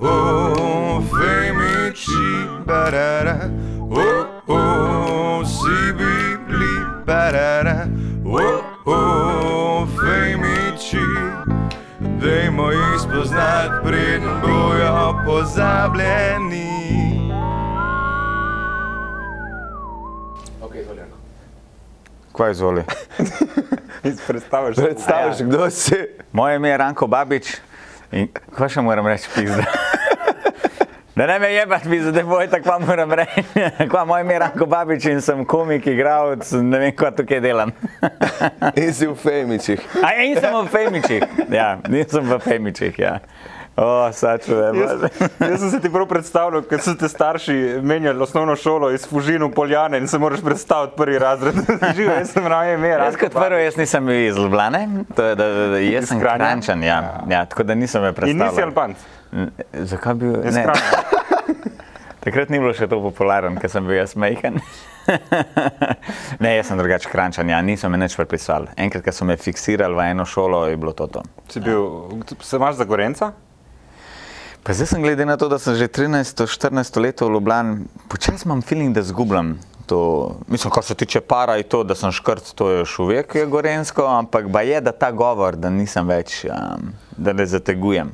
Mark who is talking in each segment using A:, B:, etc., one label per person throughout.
A: oh, femici, barara, oh, oh, sibi, bli, barara, oh, oh, femici. Dajmo jih spoznati, preden bojo pozabljeni.
B: Kaj izvoli?
C: Predstaviš,
B: Predstaviš, kdo si? Moje ime je Ranko Babič in kaj še moram reči, pizda. Da ne me jebat, pizda, da boje tako vam moram reči. Kva, moje ime je Ranko Babič in sem komik, igralec, ne vem, kaj tukaj delam.
D: In si v Femičih.
B: A ja, in sem v Femičih, ja, nisem v Femičih, ja. O, sačujem.
C: Jaz, jaz sem se ti prav predstavljal, ker so te starši menjali osnovno šolo iz Fužina v Poljane in se moraš predstaviti prvi razred. Živo, jaz sem ravno ime.
B: Jaz kot prvo, jaz nisem iz Ljubljane, to je, da, da, da, jaz sem
C: Kranja?
B: Krančan, ja. ja, tako da nisem me
C: In
B: predstavljal.
C: nisi Albanc.
B: N- Zakaj bi bil?
C: Iz
B: Ne.
C: Kranja.
B: Takrat ni bilo še to popularen, ker sem bil jaz majhen. ne, jaz sem drugače krančan, ja, niso me nič prepisali. Enkrat, ko so me fiksirali v eno šolo, je bilo to. to.
C: Si bil, se imaš za Gorenca?
B: Pa zdaj sem glede na to, da sem že 13-14 let v Ljubljani, počasi imam feeling, da zgubljam. To, mislim, kar se tiče para in to, da sem škrt, to je še uvek je gorensko, ampak ba je, da ta govor, da nisem več, um, da ne zategujem.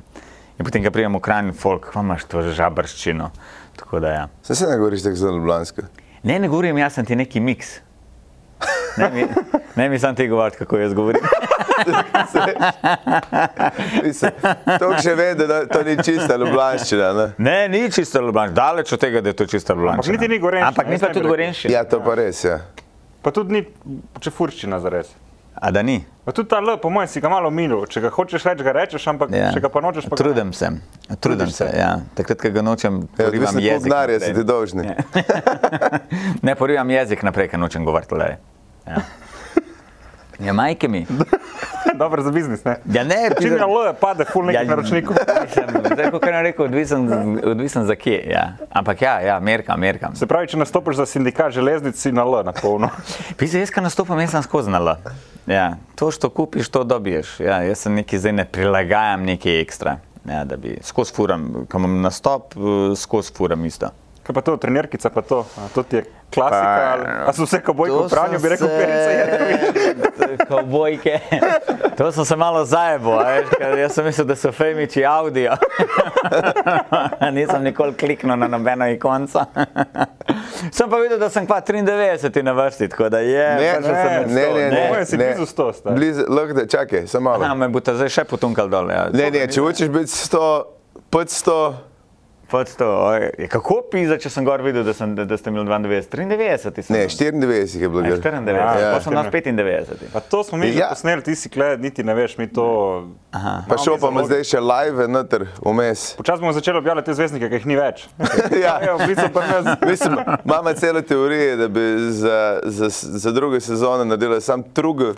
B: In potem, ko prijem v krajni folk, pa imaš to žabrščino. Tako da ja.
D: Se se ne govoriš tako zelo ljubljansko.
B: Ne, ne govorim, jaz sem ti neki miks. Ne mi, ne mi sam ti govoriti, kako jaz govorim.
D: Mislim, To že ve, da da to ni čista ljubljanščina. ne.
B: Ne, ni čisto ljubljen, daleč od tega, da je to čisto ljubljen.
C: Ampak niti ni gorenjščina,
B: Ampak ni
C: jaz
B: pa
C: ne bi
B: tudi
C: rekel.
B: gorenščina.
D: Ja, to pa res je. Ja.
C: Pa tudi ni čefurščina za res.
B: A da ni?
C: Pa tudi ta L, po mojem, si ga malo minil. Če ga hočeš reči, ga rečeš, ampak ja. če ga pa nočeš, pa ga ne.
B: Trudim se, trudim se. Ja. Takrat, ko ga nočem,
D: Ja,
B: porivam
D: odvisno, koliko
B: jezik.
D: denarja si
B: naprej.
D: ti dolžni.
B: ne, porivam jezik naprej, ker nočem govoriti le. Ja. Ja, majke mi.
C: Dobro za biznis, ne?
B: Ja, ne,
C: Čim je L, pade ful nekih ja. naročnikov.
B: Zdaj, kot je rekel, odvisen, odvisen za kje. Ja. Ampak ja, ja, merkam, merkam.
C: Se pravi, če nastopiš za sindikat železnic, si na L na polno.
B: Pisa, jaz, ki nastopam, jaz sem skozi znala. Ja, to, što kupiš, to dobiješ. Ja, jaz se nekaj zdaj ne prilagajam, nekaj ekstra. Ja, da bi skozi furam, ko imam nastop, eh, skozi furam isto.
C: Kaj pa to, trenerkica pa to, a to ti je klasika,
B: Pa,
C: ali, a so vse kobojke v pranju, bi rekel, perica ja, je.
B: je. Kavbojke. To sem se malo zajebo, a veš, ker jaz sem mislil, da so fejmiči audio. Nisem nikoli kliknil na nobeno ikonco. Sem pa videl, da sem pa 93 na vrsti, tako da je.
D: Ne,
B: prišel sem med
D: ne,
B: sto,
D: ne,
C: Po
D: ne.
C: mojem si
D: ne.
C: blizu 100, stari.
D: Blizu, lahko da, čakaj, samo
B: Ja,
D: malo.
B: me bo ta zdaj še potunkal dol. Ja.
D: Ne, ne, če hočeš biti 100, 500,
B: Pač to, oj, je kako pisa, če sem gor videl, da, sem, da, da ste imeli 92, 93, sem
D: ne,
B: imel.
D: 94 je bilo.
B: Aj,
D: gor.
B: 94,
C: Ja,
B: ja,
D: ja.
B: 95.
C: Pa to smo mi že
D: Ja.
C: posneli, ti si kled, niti ne veš, mi to...
D: Pa šel pa bomo zdaj še live, noter, vmes.
C: Počasi bomo začeli objavljati te zvezdnike, ki jih ni več.
D: Ja.
C: Evo, v bistvu pri nas.
D: Mislim, imamo celo teorijo, da bi za, za, za druge sezone naredili sam drugo,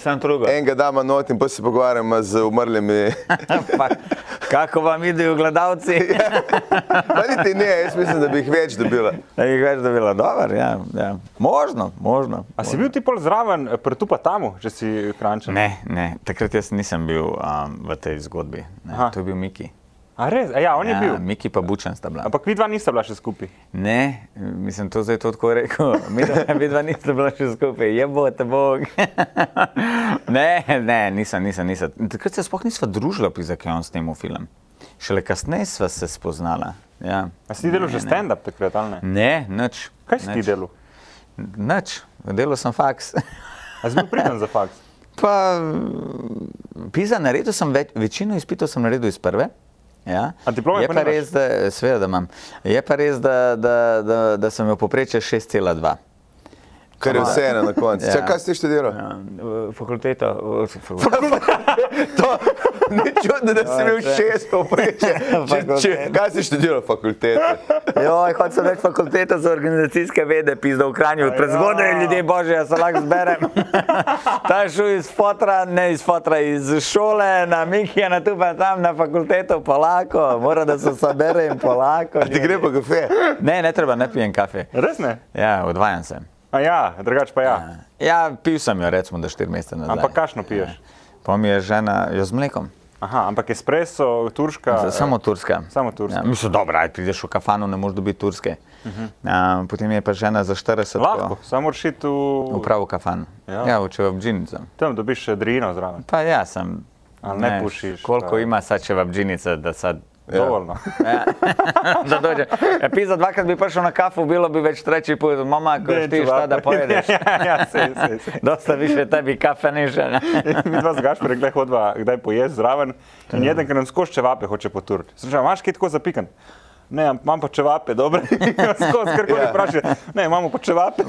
B: Sam drugo.
D: enega dama not in pa se pogovarjamo z umrlimi.
B: Pa, kako vam idejo gledalci?
D: Pa niti ne, jaz mislim, da bi jih več dobila.
B: Da jih več dobila, dobro, ja, ja. Možno, možno.
C: A si bil ti pol zraven, eh, pri tu pa tam, če si krančen?
B: Ne, ne, takrat jaz nisem bil um, v tej zgodbi. Ne,
C: Aha.
B: to je bil Miki.
C: A res, a ja, on je bil.
B: Miki pa Bučan sta bila.
C: Ampak vi dva nista bila še skupaj.
B: Ne, mislim, to zdaj to tako rekel. Mi dva, mi dva nismo bila še skupaj, je bo te bog. ne, ne, nisem, nisem, nisem. Takrat se sploh nismo družila, pizak je on snimal film. Šele kasneje sva se spoznala. Ja.
C: A si ti delal
B: Ne,
C: že
B: ne.
C: stand-up takrat, ali ne?
B: Ne, nič.
C: Kaj si ti
B: nič.
C: delal?
B: Nič, delal sem faks.
C: A si bil pridan za faks?
B: Pa, mm, pisa, naredil sem več, večino izpitov, sem naredil iz prve. Ja.
C: A diplome
B: je
C: pa
B: pa
C: nimaš?
B: res, da, seveda, da imam. Je pa res, da, da, da, da sem imel poprečje 6,2.
D: Kar je vseeno na koncu.
B: Ja.
D: Ja. Čakaj, kaj si študiral? Ja.
B: Ja, fakulteta.
D: To ni čudno, da si
B: To je
D: imel
B: vse.
D: šest povprečje. Če- če- Kaj si študiral fakultete?
B: Joj, hočem reči fakulteta za organizacijske vede, pizda v Kranju.
C: ja.
B: Prezgodaj je ljudje, bože, jaz se lahko zberem. Ta je šel iz fotra, ne iz fotra, iz šole na Mikija, na tu pa tam na fakulteto, polako, mora da se sabere in polako.
D: Ti gre pa kafe?
B: Ne, ne treba, ne pijem kafe.
C: Res ne?
B: Ja, odvajam se.
C: A ja, drugače pa ja.
B: Ja, pil sem jo, recimo, da štiri mesece nazaj.
C: Ampak kakšno piješ?
B: Pa mi je žena, jo z mlekom.
C: Aha, ampak espresso, turška.
B: Samo turska.
C: e, Samo turska. Mhm.
B: Ja, mislim, dobro, aj prideš v kafano, ne moreš dobiti turske. Uh -huh. ja, potem je pa žena za 40
C: Lahko,
B: ko-
C: samo rešiti v.
B: v pravo kafano.
C: Ja.
B: Ja, ja če v džinico.
C: Tam dobiš še drino zraven.
B: Pa ja, sem.
C: Ali ne pušiš,
B: Koliko
C: pa-
B: ima sad če v džinico, da sad.
C: Ja. Dovoljno.
B: Ja. da dođe. Ja, pisa dvakrat bi prišel na kafu, bilo bi već treći put. Mama, ko ti šta da pojedeš?
C: ja, ja, sej, sej, sej.
B: Dosta više tebi kafe niže. ne?
C: Mi dva z Gašperjem kdaj hodiva, kdaj poješ zraven
B: Ja.
C: in jedan, ki nam skoči čevape, hoče poturiti. Sreča, imaš kaj tako zapikan? Ne, am- imam pa čevape, dobro. Skozi
B: Ja.
C: karkoli vprašaj. Ne, imamo pa čevape.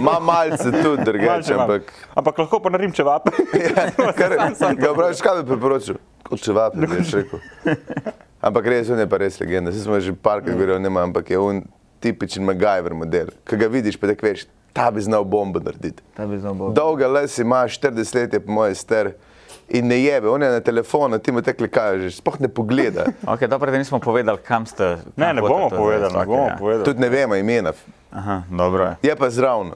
D: Ma malce tudi drugače,
C: Malce imam.
D: ampak. Ja,
C: ampak lahko pa naredim čevape.
B: Ja,
D: Kar,
C: Sam sem
D: ga
C: to-
D: praviš, kaj bi priporočil? Kot čevap, bi jaz rekel. Ampak res, on je pa res legenda. Vsi smo že
C: Ja.
D: parkrat govorili, nema, ampak je on tipičen MacGyver model. Ko ga vidiš, pa tako veš, ta bi znal bombo narediti.
B: Ta bi znal bolj.
D: Dolga les ima, 40 let je po mojem star in ne jebe, on je na telefonu, ti mu tekle kažeš, sploh ne pogleda.
B: Ok, dobro, da nismo povedali, kam ste.
C: Ne,
B: kam
C: ne
B: hočete
C: bomo
B: to
C: povedali,
B: zvesti,
C: ne
B: okej,
C: bomo
B: ja.
C: povedali.
D: Tudi ne vemo imena,
B: Aha, dobro je.
D: je pa zraven.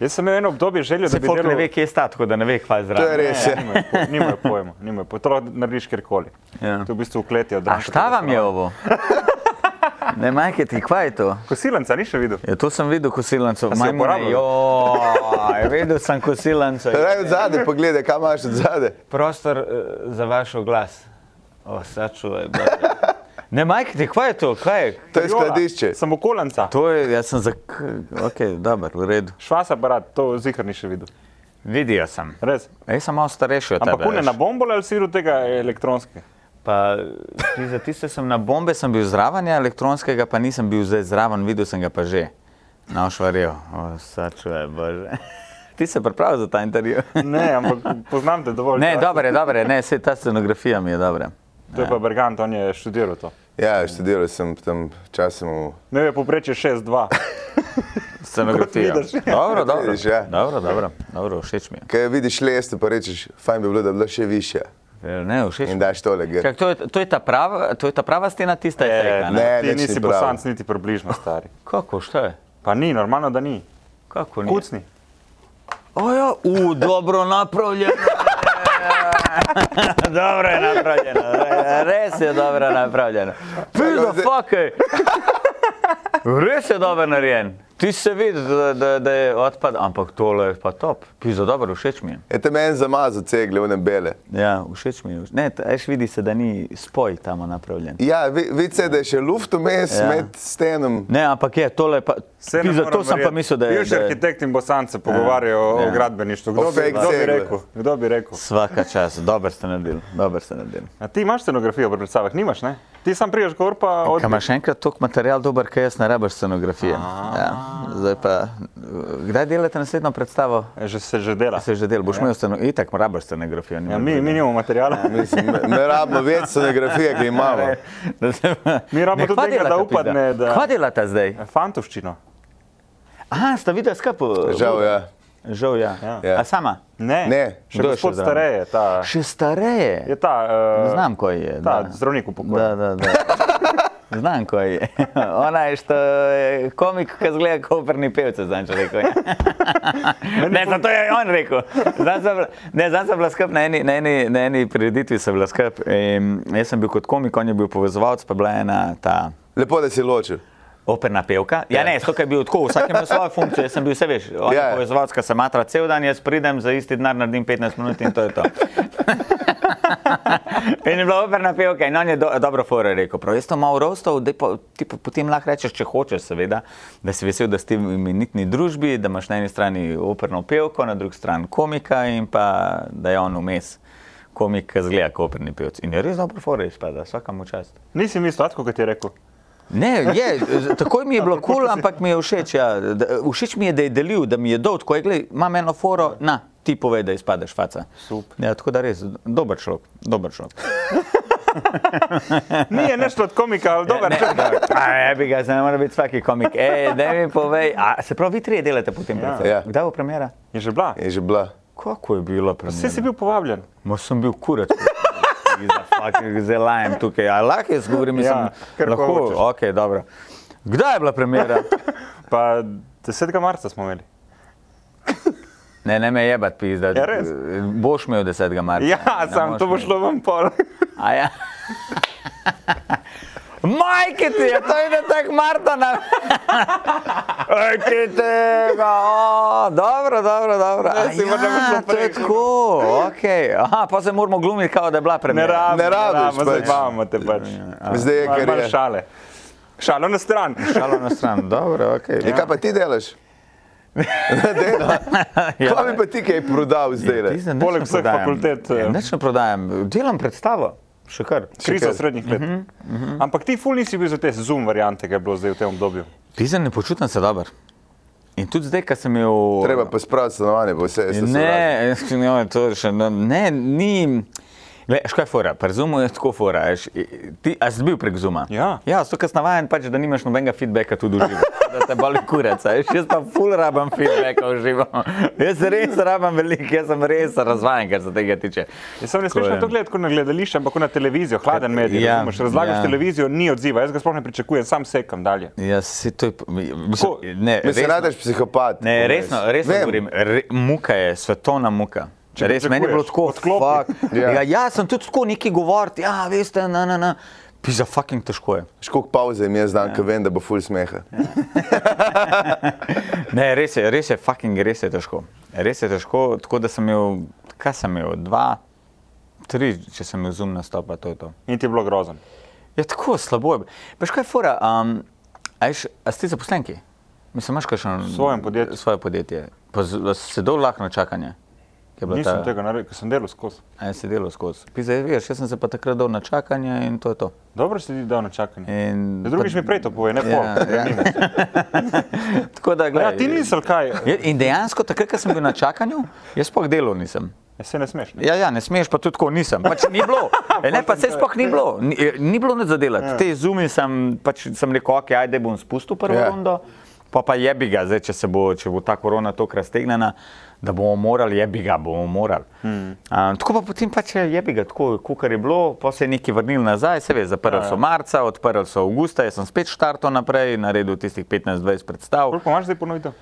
C: Jaz sem imel eno obdobje željo, da
B: Se
C: bi
B: folk ne
C: delal
B: ve, kje je stat, tako da ne ve, kaj je
D: To je
B: zraven.
D: res.
C: Ne,
D: je.
C: nimajo E, po- Nimajo pojma, nimajo pojma. To lahko narediš kjerkoli.
B: Ja.
C: To je v bistvu ukletje od
B: A šta vam je ovo? Ne, majke ti, kaj je to?
C: Kosilenca nisi videl?
B: Ja, to sem videl kosilnico,
C: si jo uporabljal?
B: Joj, ja, videl sem kosilnico.
D: Raj od zadaj, pogledaj, kaj imaš od zadaj.
B: Prostor eh, za vaš oglas. O, sačuvaj. Bože. Ne, majke ti, kaj je to? Kaj je?
D: To je
C: Viola,
D: skladišče.
C: Samo kolenca.
B: To je, jaz sem za... Ok, dobro, v redu.
C: Švas aparat, to zihar nisi videl.
B: Vidijo sem.
C: Res.
B: Ej, sem malo starejši od
C: Ampak
B: tebe.
C: kune
B: veš.
C: na bombole ali siru tega elektronske?
B: Pa, ti za tiste sem na bombe sem bil zraven, ja, elektronskega pa nisem bil zdaj zraven, videl sem ga pa že. Na ošvarju, sačuje, bože. Ti se pripravi za ta intervju?
C: Ne, ampak poznam te dovolj.
B: Ne,
C: časa.
B: dobro je, dobro je, ne, vse ta scenografija mi je dobra.
C: To je pa Bergant, on je študiral to. No,
D: Ja, študiral sem tam časom. v-
C: Ne ve, poprečje 6-2.
B: Scenografija.
C: Kot vidiš.
B: Dobro, dobro.
D: Vidiš, ja.
B: Dobro, dobro, dobro, všeč mi je.
D: Kaj vidiš lesto, pa rečeš, fajn bi bilo, da bi bila še višja.
B: Ne, všeč mi
D: In
B: je.
D: daš tole, gre.
B: Čak, to, je, to, je ta prava, to je ta prava stena, tista je tega, ne?
D: ne.
C: E, ti
D: nič ni
C: nisi
D: prav.
C: bosanc, niti približno stari.
B: Kako, šta je?
C: Pa ni, normalno, da ni.
B: Kako ni?
C: Kucni.
B: Ojo, u, dobro napravljeno. je. dobro je napravljeno, re- res je dobro napravljeno. Pizda, fakej. Res je dobro narejen. Ti se vidi, da, da, da je odpad, ampak tole je pa top. Pizda, dobro, všeč mi je.
D: Je E, tam en zamazal cegle, one bele.
B: Ja, všeč mi je. Ne, veš, vidi se, da ni spoj tam napravljen.
D: Ja, vi- vidi se, da je še luft vmes
B: Ja.
D: ja. med stenom.
B: Ne, ampak je tole, pa,
C: Saj ne
B: pizda,
C: morem
B: to sem pa
C: verjeti.
B: mislil, da je.
C: Bivši
B: da je-
C: arhitekt in bosanci se pogovarjajo o- o
B: Ja.
C: gradbeništvu.
D: O
C: Kdo bi,
D: fake
C: kdo bi
D: cegle.
C: rekel? Kdo bi rekel?
B: Svaka čas, dobro ste naredili, dobro ste naredili.
C: A ti imaš scenografijo pri predstavah? Nimaš, ne? Ti sam priješ gor pa od...
B: Ker imaš enkrat toliko materiala, dober, kaj jaz ne rabiš scenografije. Ja. Zdaj pa, kdaj delate naslednjo predstavo?
C: E, Že se že dela.
B: Se že del, boš imel scenografijo, itak rabiš scenografijo.
C: Ja, mi, mi nimamo materijala.
B: Ja,
D: Mislim, ne- ne rabimo več scenografije, ki jo imamo.
C: Mi rabimo tudi tega, da upadne, da-
B: Kva delata zdaj?
C: E, Fantovščino.
B: Aha, sta videla skupo?
D: Žal, ja.
B: Žal, ja.
D: Ja.
B: A sama?
C: Ne,
D: Ne.
C: še
B: Kdo je še
C: gospod
B: zraven?
C: stareje. Ta,
B: Še stareje.
C: Ja. je ta, uh,
B: Ne Znam koji je.
C: Ta,
B: da.
C: zdravnik v pokoju.
B: Da, da, da. Znam koji je. Ona je što je komik kad zgleda kao operni pevca, znam što rekao. je. ne, zato je on rekao. Znam sam, ne, znam sam bila skrb na eni, na eni, na eni prireditvi sam bila skrb. Em, jaz sem bil kot komik, on je bil povezovalc, pa je bila ena ta
D: Lepo, da si ločil.
B: operna pevka. Ja, ne, to je bil tako, vsak je imel svojo funkcijo, jaz sem bil vse veš. On
D: Ja,
B: je
D: ja.
B: povezovalc, ki se matra cel dan, jaz pridem za isti denar, naredim 15 minut in to je to. in je bila operna pevka in on je do, dobro fore rekel. Prav, jaz to malo rostov, pa, ti pa potem lahko rečeš, če hočeš, seveda, da si vesel, da si v imenitni družbi, da imaš na eni strani operno pevko, na drugi strani komika in pa da je on vmes. Komik, ki zgleda kot operni pevec. In je res dobro, fore izpada, vsaka mu čast.
C: Nisi mislil, tako kot je rekel.
B: Ne, je, z- takoj mi je bilo kul, cool, ampak mi je všeč. Ja. Da, všeč mi je, da je delil, da mi je dol, tako je, gledaj, imam eno foro, na, ti povej, da izpadeš, faca.
C: Super.
B: Ja, tako da res, dober človek, dober človek.
C: Ni je nešlo od komika, ali dober.
B: Ja, Ne, dobro. A, ja bi ga, zdaj ne more biti vsaki komik. E, da mi povej, a se pravi, vi trije delate potem ja. predvsem.
D: Ja.
B: Kdaj bo premjera?
C: Je že bila.
D: Je že bila.
B: Kako je bilo
C: Vsi si
B: premjera?
C: bil povabljen.
B: Ma sem bil kurac. Zdaj lajem tukaj, a lahko jaz govorim, mislim,
C: Ja, kar ko hočeš.
B: lahko, ok, dobro. Kdaj je bila premjera?
C: Pa 10. marca smo imeli.
B: Ne, ne me jebat, pizda.
C: Ja, res?
B: Boš imel 10. marca.
C: Ja,
B: ne
C: sam
B: moreš
C: to bo
B: imeti.
C: šlo vam pol.
B: A ja. Majke ti je, to ide tako Martana. Ajke tega, o, dobro, dobro, dobro.
C: Ne, si
B: A
C: morda
B: ja,
C: mislil
B: to je
C: prej.
B: tako, okej. Aha, pa se moramo glumiti, kao da je bila
C: Ne
B: premjera.
C: rabimo,
D: Ne rabiš pač.
C: zabavamo te pač.
D: Zdaj je
C: Malo-
D: kar
C: malo
D: je.
C: šale. Šalo na stran.
B: Šalo na stran, dobro, okej.
D: Ja, kaj pa ti delaš? Dela.
B: Ja.
D: Kaj bi pa ti kaj prodal zdaj? le?
B: Ti zdaj nič
C: Poleg
B: ne
C: vseh
B: prodajam.
C: fakultet, eh.
B: Ja, Nič ne prodajam, delam predstavo, še kar.
C: Kriza
D: kar.
C: srednjih let. Ampak ti ful nisi bil za te zoom variante, ki je bilo zdaj v tem obdobju.
B: Ti zdaj ne počutim se dobro. In tudi zdaj, ko sem imel...
D: Treba pa spraviti stanovanje, pa vse je
B: Ne, jaz sem imel to še, no, ne, ni. Glej, škaj fora, pri Zoomu je tako fora. veš, i- i- Ti, a si bil prek Zooma?
C: Ja.
B: Ja, zato ker sem navajen, pač, da nimaš nobenega feedbacka tudi v živo. Da te boli kurac, a veš, jaz pa ful rabam feedbacka v živo. Jaz res rabam veliko, jaz sem res razvajen, kar se tega tiče.
C: Jaz sem
B: Tako
C: resnično
B: je.
C: to gledal kot na gledališče, ampak kot na televizijo, hladen medij. Ja,
B: Ja,
C: Razlagaš
B: ja.
C: ja. televizijo, ni odziva, jaz ga sploh ne pričakujem, sam sekam dalje.
B: Jaz si Ja, to... je p- Mislim,
C: Ko-
B: ne,
D: Mislim,
B: resno.
D: da si psihopat.
B: Ne, resno, resno
D: Vem.
B: govorim, re, muka je, svetovna muka.
C: Če
B: Res, meni je bilo tako,
C: pričakuješ, odklopi.
B: fuck.
D: Ja.
B: ja, ja, sem tudi tako neki govoriti, ja, veste, na, na, na. Pisa, fucking težko je.
D: Škog pauze jim jaz
B: Ja.
D: dan, ker vem, da bo ful smeha.
B: no, Ne, res je, res je, fucking res je težko. Res je težko, tako da sem imel, kaj sem imel, dva, tri, če sem imel zum nastopa, to je to.
C: In ti je bilo grozen.
B: Je tako slabo. je. Veš kaj je fora? Um, a, ješ, a ste zaposlenki? Mislim, imaš kakšen
C: V svojem podjetju.
B: Svoje podjetje. Pa z- se dolgo lahko na čakanje. Ke je bila
C: Nisem
B: ta-
C: tega naredil, ker sem delal skozi.
B: A jaz sem delal skozi. Pisa, veš, jaz sem se pa takrat dal na čakanje in to je to.
C: Dobro si ti dal na čakanje.
B: In,
C: Ja, Drugič mi prej to pove, ne pol.
B: E, Ja, ja. Tako da,
C: Ja,
B: gledaj,
C: ja ti nisi, ali kaj?
B: Je- In dejansko, takrat, ko sem bil na čakanju, jaz sploh delal nisem.
C: Ja, se ne smeš. Ne?
B: Ja, ja, ne smeš, pa tudi tako nisem. Pač ni bilo. E, ne, pa se sploh ni bilo. Ni, eh, ni bilo nič za delati. Ja. Te zumi sem, pač sem rekel, ok, ajde bom spustil prvo
D: Ja.
B: ja. rundo, pa pa jebi ga, zdaj, če, se bo, če bo ta korona tako raztegnjena, da bomo morali, jebi ga, bomo morali. Mm. Um, tako pa potem pač je jebi ga, tako kot je bilo, pa se je nekaj vrnil nazaj, se ve, zaprli ja, so marca, odprli so avgusta, jaz sem spet štartal naprej, naredil tistih 15-20 predstav.
C: Koliko imaš zdaj ponovitev?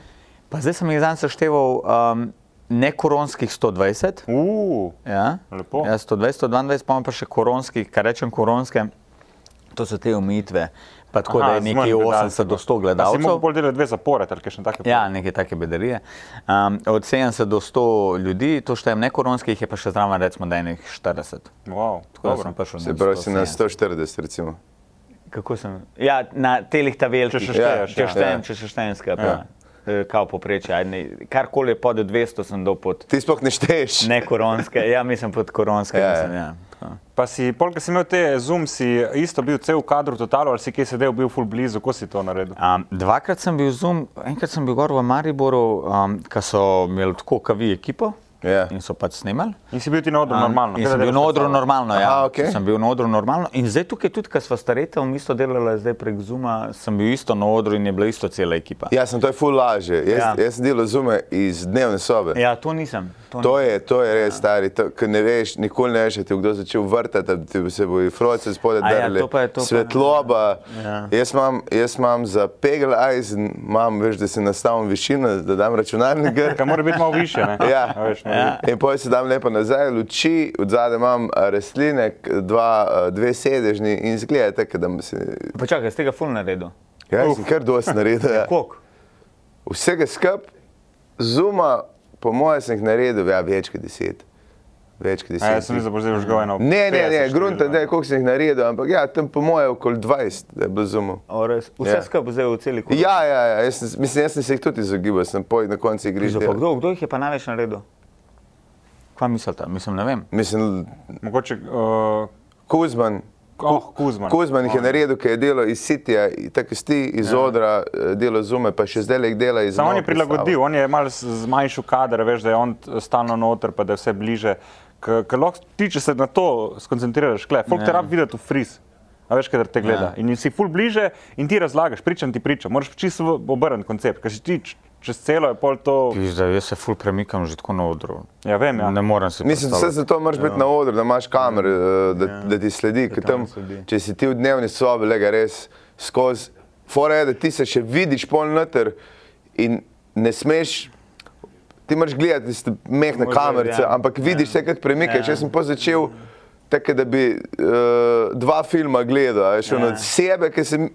B: Pa zdaj sem jih zanj sešteval um, ne koronskih 120.
C: Uuu,
B: Ja.
C: Lepo.
B: Ja, 120, 122, pa imam pa še koronski, kar rečem koronske, to so te omejitve. Pa tako Aha, da je nekje 80 do 100
C: Si lahko
B: gledalcev.
C: bolj delal dve zapored, ali kaj še takega.
B: Ja, neke take bedarije. Um, od 70 do 100 ljudi, to štejem ne koronskih, je pa še zraven recimo, da je nekih 40.
C: Wow,
B: Tako da
C: dobro.
B: sem prišel
D: Se
B: na
D: pravi, si na
B: 170.
D: 140, recimo.
B: Kako sem? Ja, na telih ta velikih.
C: Če še šteješ,
B: če
C: ja.
B: štejem, če še štejem skupaj. Ja. Kao poprečje, ajde, ne, karkoli je pod 200, sem dal pod
D: Ti sploh ne šteješ.
B: ne koronske, ja, mislim pod koronske.
D: Ja,
B: Ja,
D: ja.
B: mislim, ja. tako.
C: Pa si, polk si imel te zoom, si isto bil cel v kadru totalu, ali si kje sedel, bil full blizu, ko si to naredil?
B: Um, dvakrat sem bil zum, enkrat sem bil gor v Mariboru, um, ko so imeli tako, kot vi, ekipo
D: Ja.
B: in so pač snimali.
C: In si bil ti na odru normalno. kaj
B: In
C: da
B: sem bil
C: delaš
B: na
C: pred
B: odru
C: sabo?
B: normalno. Ja.
D: Aha, okej.
B: Sem bil na odru normalno. In zdaj tukaj, tudi ko smo starejši, v isto delali, zdaj prek Zuma, sem bil isto na odru in je bila isto cela ekipa.
D: Ja, sem to je ful lažje. Jaz,
B: Ja.
D: ja. jaz sem delal zume iz dnevne sobe.
B: ja to nisem. To
D: To je, to je res stari, to, ker ne veš, nikoli ne veš, da ti je kdo začel vrtati, da ti se bojo froce spodaj
B: A ja,
D: drli.
B: to pa je, to pa ne.
D: Svetloba.
B: Ja.
D: Jaz imam- Jaz imam za pegel Eisen, imam, veš, da si nastavim višino, da dam računalnik. gor.
C: Kaj mora biti malo više, ne?
D: Ja.
C: A veš,
B: Ja.
C: ja.
D: In potem se dam lepo nazaj, luči, od zadaj imam a, rastline, k- dva, a, dve sedežni in zgleda tako, da mi se.
B: Počakaj, ste ga full naredil.
D: Ja, jaz sem kar dosti naredil. ja.
B: Koliko?
D: Vsega skup, zuma, po mojem, sem jih naredil, ja, več kot deset. Več kot
C: A, jaz
D: deset.
C: sem mislil, da boš zdaj žgal eno.
D: Ne, ne, ne,
C: 50
D: grunta,
C: številko.
D: ne, koliko sem jih naredil, ampak ja, tam po mojem okoli 20, da je bilo zumov.
B: O, res. Vse
D: Ja.
B: yeah. skupaj zdaj v celi kuhinji.
D: Ja, ja, ja jaz, sem- mislim, jaz sem se jih tudi izogibal, sem poj na koncu igrišč. delal.
B: Kdo, kdo jih je pa največ naredil? Kva mislite? Mislim, ne vem.
D: Mislim,
C: Mogoče, uh,
D: Kuzman.
C: oh, Kuzman.
D: Kuzman jih je naredil, ker je delo iz Sitija, tako sti iz ja. odra, eh, delo zume, pa še zdaj le jih dela iz
C: Samo on
D: novo
C: je prilagodil,
D: predstavo.
C: on je malo z- zmanjšal kader, veš, da je on t- stalno noter, pa da je vse bliže. Ker ker lahko ti, če se na to skoncentriraš, klej, folk te
B: Ja.
C: rab videti v friz. A veš, kader te gleda. In si ful bliže in ti razlagaš, pričam ti pričam. Moraš čisto v- obrniti koncept, ker si ti č- čez celo je pol to.
B: Pizda, jaz se ful premikam že tako na odru.
C: Ja, vem, ja.
B: Ne morem se
D: Mislim, vse
B: predstavljati.
D: zato moraš biti na odru, da imaš kamer, eh, da, ja. da ti sledi. ker
B: te
D: Tam,
B: ne sledi.
D: če si ti v dnevni sobi, le ga res skozi. Fora je, da ti se še vidiš poln noter in ne smeš. Ti moraš gledati tiste mehke
B: Možda,
D: kamerice,
B: ja.
D: ampak vidiš vse, kako premikaš.
B: Ja.
D: Jaz sem pa začel tako, da bi uh, dva filma gledal, a veš, ono,
B: Ja.
D: od sebe, ki se eh,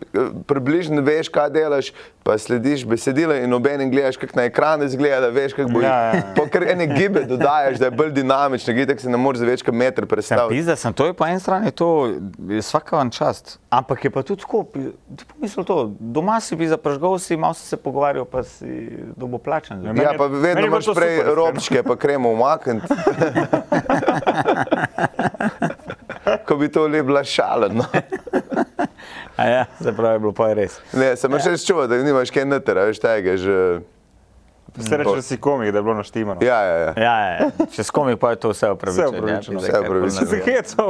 D: približno veš, kaj delaš, pa slediš besedilo in obenem gledaš, kako na ekranu izgleda, da veš, kako bo.
C: Ja, ja, ja.
D: Pa kar ene gibe dodajaš, da je bolj dinamično, gledaj, tako se ne moreš za več kot meter
B: Ja,
D: predstaviti.
B: pizda sem, to je po eni strani, to je vsaka vam čast. Ampak je pa tudi tako, pi- ti pomisli to, doma si bi zapražgal, si malo si se pogovarjal, pa si dobo plačen. za to.
D: Ja,
C: Meni je-
D: pa
C: meni
D: vedno
C: je bilo
D: imaš
C: to
D: prej
C: super, iskreno.
D: robčke, pa kremo umakniti. Ko bi to le bila no. šalena.
B: A Ja, se pravi, je bilo pa je res.
D: Ne,
C: Ja.
D: samo še čuva, da nimaš kaj natera, veš, tega že.
C: Vse reče, da si komik, da je bilo naštimano.
D: Ja, ja, ja.
B: Ja, ja, ja. Če s komik pa je to vse upravičeno.
C: Vse upravičeno.
B: pizda,
D: Vse
B: kar koli
D: upravičeno.
C: Se
B: narediš.
C: hecov.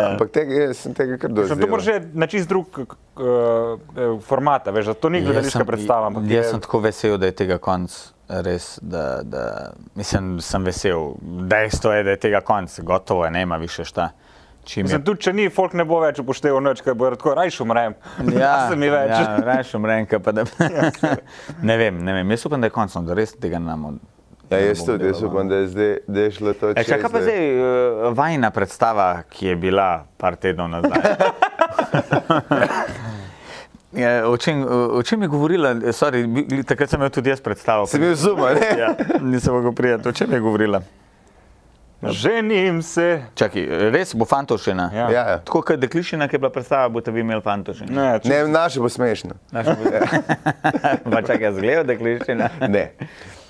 D: Ampak tega, jaz sem tega kar dosti.
C: Ja. To moraš že na čist drug k- k- eh, format, a veš, da to ni
B: Jaz sem-
C: gledališka predstava. ampak je-
B: Jaz sem tako vesel, da je tega konc. Res, da, da mislim, sem vesel. Dejstvo je, da je tega konc, gotovo je, nema više šta.
D: Ja.
B: Čim je
C: Mislim, tudi če ni, folk ne bo več upošteval noč, kaj bo rekel, rajš umrem. Ja, se mi več.
B: Ja, Rajš umrem, kot pa da. ne vem, ne vem. Jaz upam, da je končno, da res tega ne bomo.
D: Ja,
B: ne
D: jaz
B: bomo
D: tudi, jaz
B: delovali.
D: upam, da je zdaj da je šlo to.
B: E,
D: čez,
B: čaka pa
D: da-
B: zdaj eh, vajna predstava, ki je bila par tednov nazaj. Je, Ja, O čem, o čem je govorila, eh, sorry, bi- takrat sem jo tudi jaz predstavil.
D: Si bil zuma, ne?
B: Ja, nisem mogel prijeti, o čem je govorila.
C: Ženim se.
B: Čakaj, res bo fantošena.
C: Ja. No.
D: Ja, ja.
B: Tako kot deklišina, ki je bila predstava, boste vi imeli fantošena.
C: Ne, če,
D: Ne, naše bo smešno.
B: Naš bo... pa čakaj, jaz gledam deklišina.
D: Ne.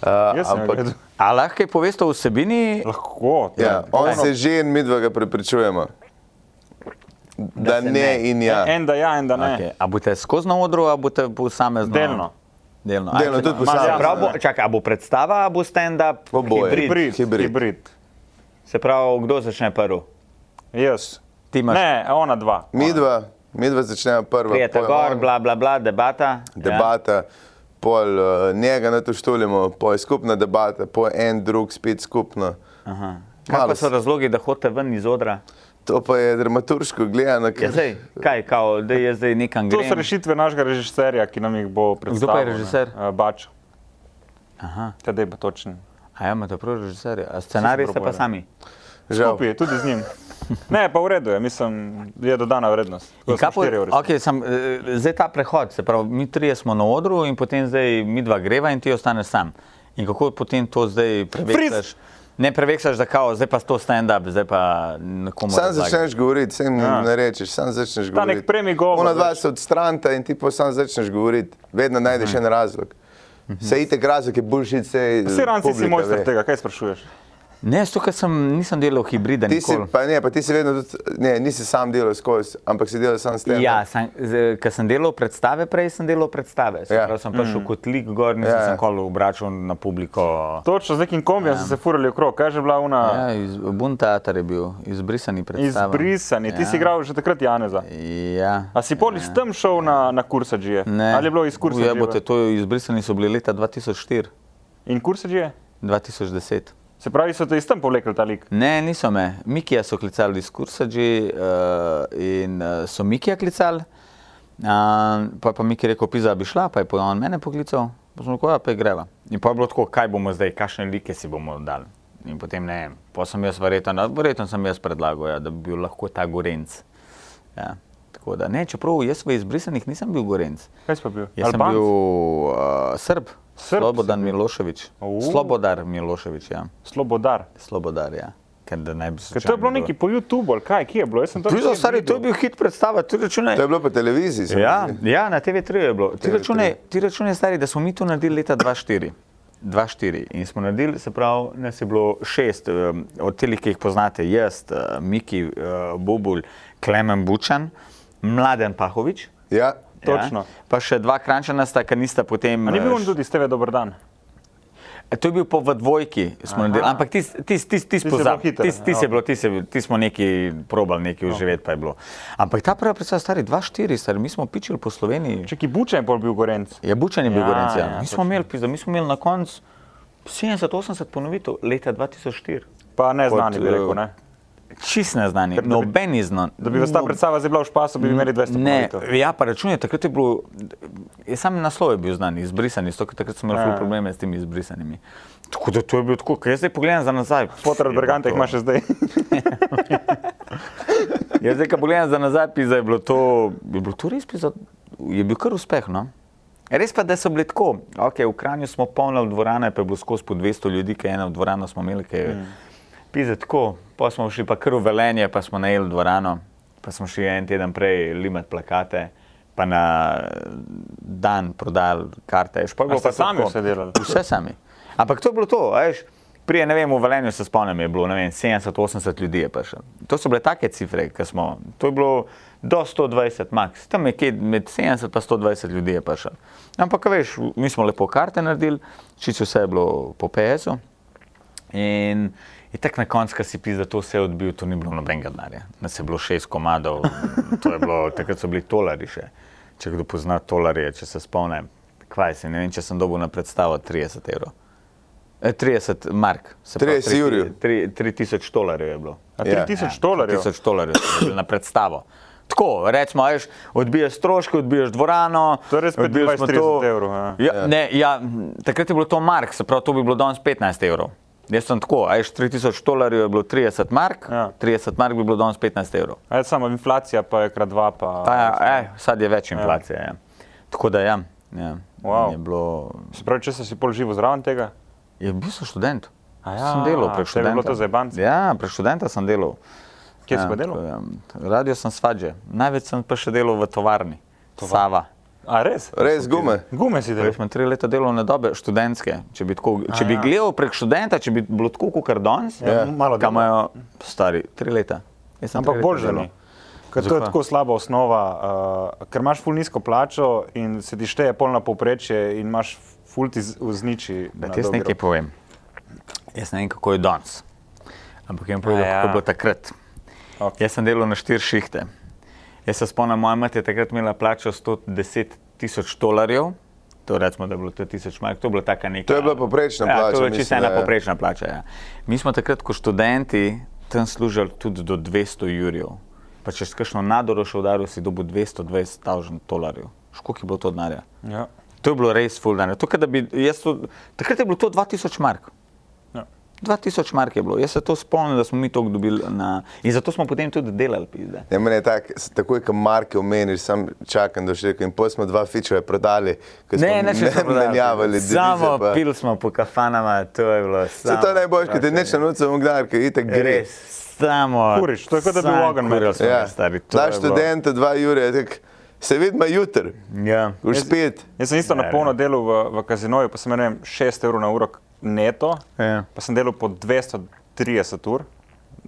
D: Uh,
C: jaz sem
D: ampak,
C: gledal.
B: A lahko je poveste o vsebini?
C: Lahko. to
D: ja,
C: je-
D: on
C: ono,
D: se že in midva ga prepričujemo. Da
B: se
D: ne
B: ne.
D: in ja.
C: En da ja, en da ne.
B: Okay. A boste skozi na odru, a boste posamezno?
C: Delno.
B: Delno,
D: Delno, tudi posamezno,
B: posamezno.
D: ne.
B: Čakaj, a bo predstava, a bo stand-up?
D: Oboje.
B: Hibrid?
C: Hibrid.
D: Hibrid.
C: Hibrid.
B: Se pravi, kdo začne prvi?
C: Jaz.
B: Ti imaš
C: Ne, ona dva.
D: Midva, midva začnemo prvo.
B: prijeta gor, bla, bla, bla, debata.
D: debata, ja. pol uh, njega na to štulimo, pol je skupna debata, pol en drug spet skupno.
B: Ja. Aha. Kaj
D: Malo
B: pa so
D: s-
B: razlogi, da hodite ven iz odra?
D: To pa je dramaturško gledano,
B: Ja,
D: ker
B: zdaj, kaj, kao, da je zdaj nekam
C: To
B: grem?
C: so rešitve našega režiserja, ki nam jih bo predstavil. Eh,
B: režiser?
C: Bač.
B: Aha.
C: Tadej bo točen.
B: A ja, imate prav režiserje, a scenarij ste pa
C: probojali.
B: sami.
D: žal.
C: Kupi, tudi z njim. Ne, pa v redu je, mislim, je dodana vrednost. Tako
B: In
C: smo
B: kaj po-
C: štirje v resnici.
B: Okay, sam, eh, zdaj ta prehod, se pravi, mi trije smo na odru in potem zdaj mi dva greva in ti ostaneš sam. In kako potem to zdaj
C: Friz!
B: preveksaš? Ne preveksaš, da kao, zdaj pa to stand-up, zdaj pa nekomu.
D: Sam
B: razlagaš.
D: začneš govoriti, vsem
C: Ja.
D: ja. ne rečeš, sam začneš
C: nek
D: govoriti.
C: premi govor,
D: Ona dva
C: veš.
D: se odstranta in ti pa sam začneš govoriti. Vedno najdeš en razlog. Se itek razlog je boljši, se.
C: Vsi ranci si
D: publika ve.
C: mojster tega, kaj sprašuješ?
B: Ne, tukaj sem, nisem delal hibrida.
D: Ti si,
B: nikoli.
D: pa ne, pa ti si vedno tudi, ne, nisi sam delal skozi, ampak si delal sam s tem.
B: Ja, sam, z, ker sem delal predstave, prej sem delal predstave. Se
D: Ja.
B: pravi, sem prišel mm. kot lik gor, nisem
D: Ja,
B: ja.
D: ja.
B: se nikoli obračal na publiko.
C: Točno z nekim kombijem so se furali okrog, kaj je že bila una
B: Ja, iz, Buntatar je bil, izbrisani predstava.
C: izbrisani. Ti si igral že takrat Janeza.
B: Ja.
C: A si poli s tem šel na, na kursadžije?
B: Ne.
C: Ali je bilo iz
B: Ja, bote,
C: kursadžije?
B: to izbrisani so bili leta 2004,
C: In kursadžije?
B: 2010.
C: Se pravi, so te iz tem povlekli ta lik.
B: Ne, niso me. Mikija so klicali iz Kursađi uh, in uh, so Mikija klicali. Uh, pa pa Miki je rekel, pisa bi šla, pa je pa on mene poklical, pa smo rekel, "Ja, pa je greva. In pa je bilo tako, kaj bomo zdaj, kakšne like si bomo dali. In potem ne vem, pa sem jaz verjetno, no, verjetno sem jaz predlagal, ja, da bi bil lahko ta gorenc. Ja. Tako da ne, čeprav jaz v izbrisanih nisem bil gorenc.
C: Kaj si pa bil?
B: Jaz sem
C: Albanc?
B: bil uh, Srb,
C: Srb
B: Slobodan Milošević.
C: Au.
B: Slobodar Milošević, ja.
C: Slobodar.
B: Slobodar, ja. Ker da ne bi se.
C: Ker to je bilo neki po YouTubu, ali kaj, kje je bilo? Jaz sem to
B: Prizo,
C: nikjer
B: stari, to je
C: videl.
B: bil hit predstava, ti računaj.
D: To je bilo po televiziji. se mi
B: Ja,
D: zdi.
B: ja, na TV3 je bilo. Ti
D: TV3.
B: računaj, ti računaj, stari, da smo mi to naredili leta 2004. 2004. In smo naredili, se pravi, nas je bilo šest, eh, od teh, ki jih poznate, jaz, eh, Miki, eh, Bubulj, Klemen Bučan, Mladen Pahovič.
D: ja.
C: Točno.
B: Ja, pa še dva krančana sta, ker nista potem.
C: A ni bil
B: eh,
C: on tudi iz TV Dobar dan?
B: E, To je bil po v dvojki, smo naredili, ampak ti si
C: Tisto je bilo
B: pozabil,
C: hitro,
B: ti si
C: ja. No.
B: bilo, tis je bil- tis smo neki probali, neki uživeti pa je bilo. Ampak ta prva predstava, stari 2-4, stari, mi smo pičili po Sloveniji.
C: Če ki bučen je pol bil Gorenc.
B: Je Bučan je bil
C: Ja,
B: gorenc,
C: ja,
B: ja. Mi smo
C: točno.
B: imeli, pizda, mi smo imeli na koncu 70-80 ponovitev leta 2004.
C: Pa neznani
B: Kot,
C: bi
B: eh,
C: rekel, ne?
B: čist neznani, noben ni znan.
C: Da bi vas ta predstava zdaj bila v špasu, bi imeli 200
B: Ne,
C: ponovitev.
B: ja, pa računaj, takrat je bilo, je sam naslov je bil znan, izbrisani, zato ker takrat smo imeli
C: Ja.
B: ful probleme s temi izbrisanimi. Tako da to je bilo tako, ker jaz zdaj pogledam za nazaj.
C: Potar od
B: je bilo
C: Berganta jih
B: to.
C: ima še zdaj.
B: Jaz zdaj, ko pogledam za nazaj, pizda, je bilo to, je bilo to res, pizda, je bil kar uspeh. No? Res pa, da so bili tako, okay, v Kranju smo polnili dvorane, pa je bilo skozi po 200 ljudi, ki je ena dvorana smo imeli, ki je
C: Mm.
B: pizda tako, pa smo šli pa kar v Velenje, pa smo najeli dvorano, pa smo šli en teden prej limat plakate, pa na dan prodali karte. Še pol je bilo
C: A ste
B: pa to
C: sami
B: tako.
C: vse delali?
B: Vse sami. Ampak to je bilo to, a veš. Prije, ne vem, v Velenju se spomnim, je bilo 70-80 ljudi. Je prišlo. to so bile take cifre, ki smo. To je bilo do 120, max. Tam je kje med 70 in 120 ljudi je prišlo. Ampak, a veš, mi smo lepo karte naredili, čisto vse je bilo po PS-u. In je tako na koncu, ko si pisa, to se je odbil, to ni bilo nobenega denarja. Nas je bilo šest komadov, to je bilo, takrat so bili tolari še. Če kdo pozna tolarje, če se spomne, kvaj se, ne vem, če sem dobil na predstavo 30 evrov. Eh, 30 mark, se
D: 30 jurjev.
B: 3000 dolarjev je bilo.
C: A
D: Ja.
C: 3000 dolarjev.
B: 3000 dolarjev so bili na predstavo. Tako, recimo, veš, odbiješ stroške, odbiješ dvorano.
C: To je res spet
B: odbiješ smo
C: 20-30
B: to.
C: evrov, ja.
B: Ja, ne, ja, takrat je bilo to mark, se pravi, to bi bilo danes 15 evrov. Jaz sem tako, ajš 3000 dolarjev je bilo 30 mark,
C: Ja.
B: ja. 30 mark bi bilo danes 15 evrov.
C: Aj, samo inflacija pa je krat dva, pa...
B: Pa, ja, eh, sad je več inflacije. Ja. Tako da ja, ja.
C: Wow.
B: je bilo.
C: Se pravi, če si si pol živo zraven tega?
B: Je bil sem študent.
C: A
B: Jaz
C: ja,
B: sem delal, prek
C: tebi je bilo
B: študenta.
C: to zajebance.
B: Ja, prek študenta sem delal.
C: Kje si
B: Ja,
C: pa delal?
B: tako, ja. Radio sem svađe, največ sem pa še delal v tovarni. Sava.
C: A res?
B: E.
D: Res gume.
C: Gume si delal.
B: Jaz sem tri leta delovne dobe študentske. Če bi, tako, če bi
C: ja.
B: gledal prek študenta, če bi bilo tako kot danes,
C: Ja, malo
B: kam
C: dela.
B: imajo stari tri leta. Jaz sem
C: Ampak no.
B: tri leta
C: bolj že
B: delal.
C: ni. Ker to je
B: Zakaj?
C: tako slaba osnova, uh, ker imaš ful nizko plačo in se ti šteje polna povprečje in imaš ful ti z- vzniči.
B: Da
C: na
B: ti jaz
C: dolgi
B: nekaj
C: rok.
B: povem. Jaz ne vem, kako je danes, ampak jim povem,
C: A ja.
B: kako je bilo takrat.
C: Ok.
B: Jaz sem delal na štiri šihte. Jaz se spomnim, moja mati je takrat imela plačo 110 tisoč dolarjev, to recimo, da je bilo to tisoč mark, to je bila taka neka.
D: To je bila povprečna
B: ja,
D: plača,
B: To je bila čisto
D: mislim, da
B: ena
D: je.
B: povprečna plača. Ja. Mi smo takrat, ko študenti, tam služili tudi do 200 jurjev. Pa če si kakšno nadoro še udaril, si dobil 220 tisoč dolarjev. Škoki je bilo to denarja.
C: Ja.
B: To je bilo res fuldane. Takrat je bilo to 2000 mark.
C: Ja.
B: 2000 mark je bilo. Jaz se to spomnim, da smo mi to dobili na... in zato smo potem tudi delali. Pizde.
D: Ja, meni je tak, s- takoj, ko marke omeniš, sam čakam, da še rekel, in potem smo dva fičeve prodali, ker smo
B: Ne, ne, če smo prodali.
D: menjavali devize,
B: Samo
D: pa-
B: pil smo po kafanama, to je bilo.
D: Saj to je najboljše, da neče noč omgnar, ker itek gre.
B: Res, samo.
C: Kuriš, to je kot da bi v ogenj metel.
B: Ja, stari. to
D: Daš
B: je bilo-
D: študenta dva jure, tak, se vidimo jutr,
B: Ja.
D: už spet.
C: Jaz sem isto na
B: Ne,
C: polno delal v, v kazinoju, pa sem imel, ne vem, 6 evrov na uro neto,
B: Ja.
C: pa sem delal po 230 ur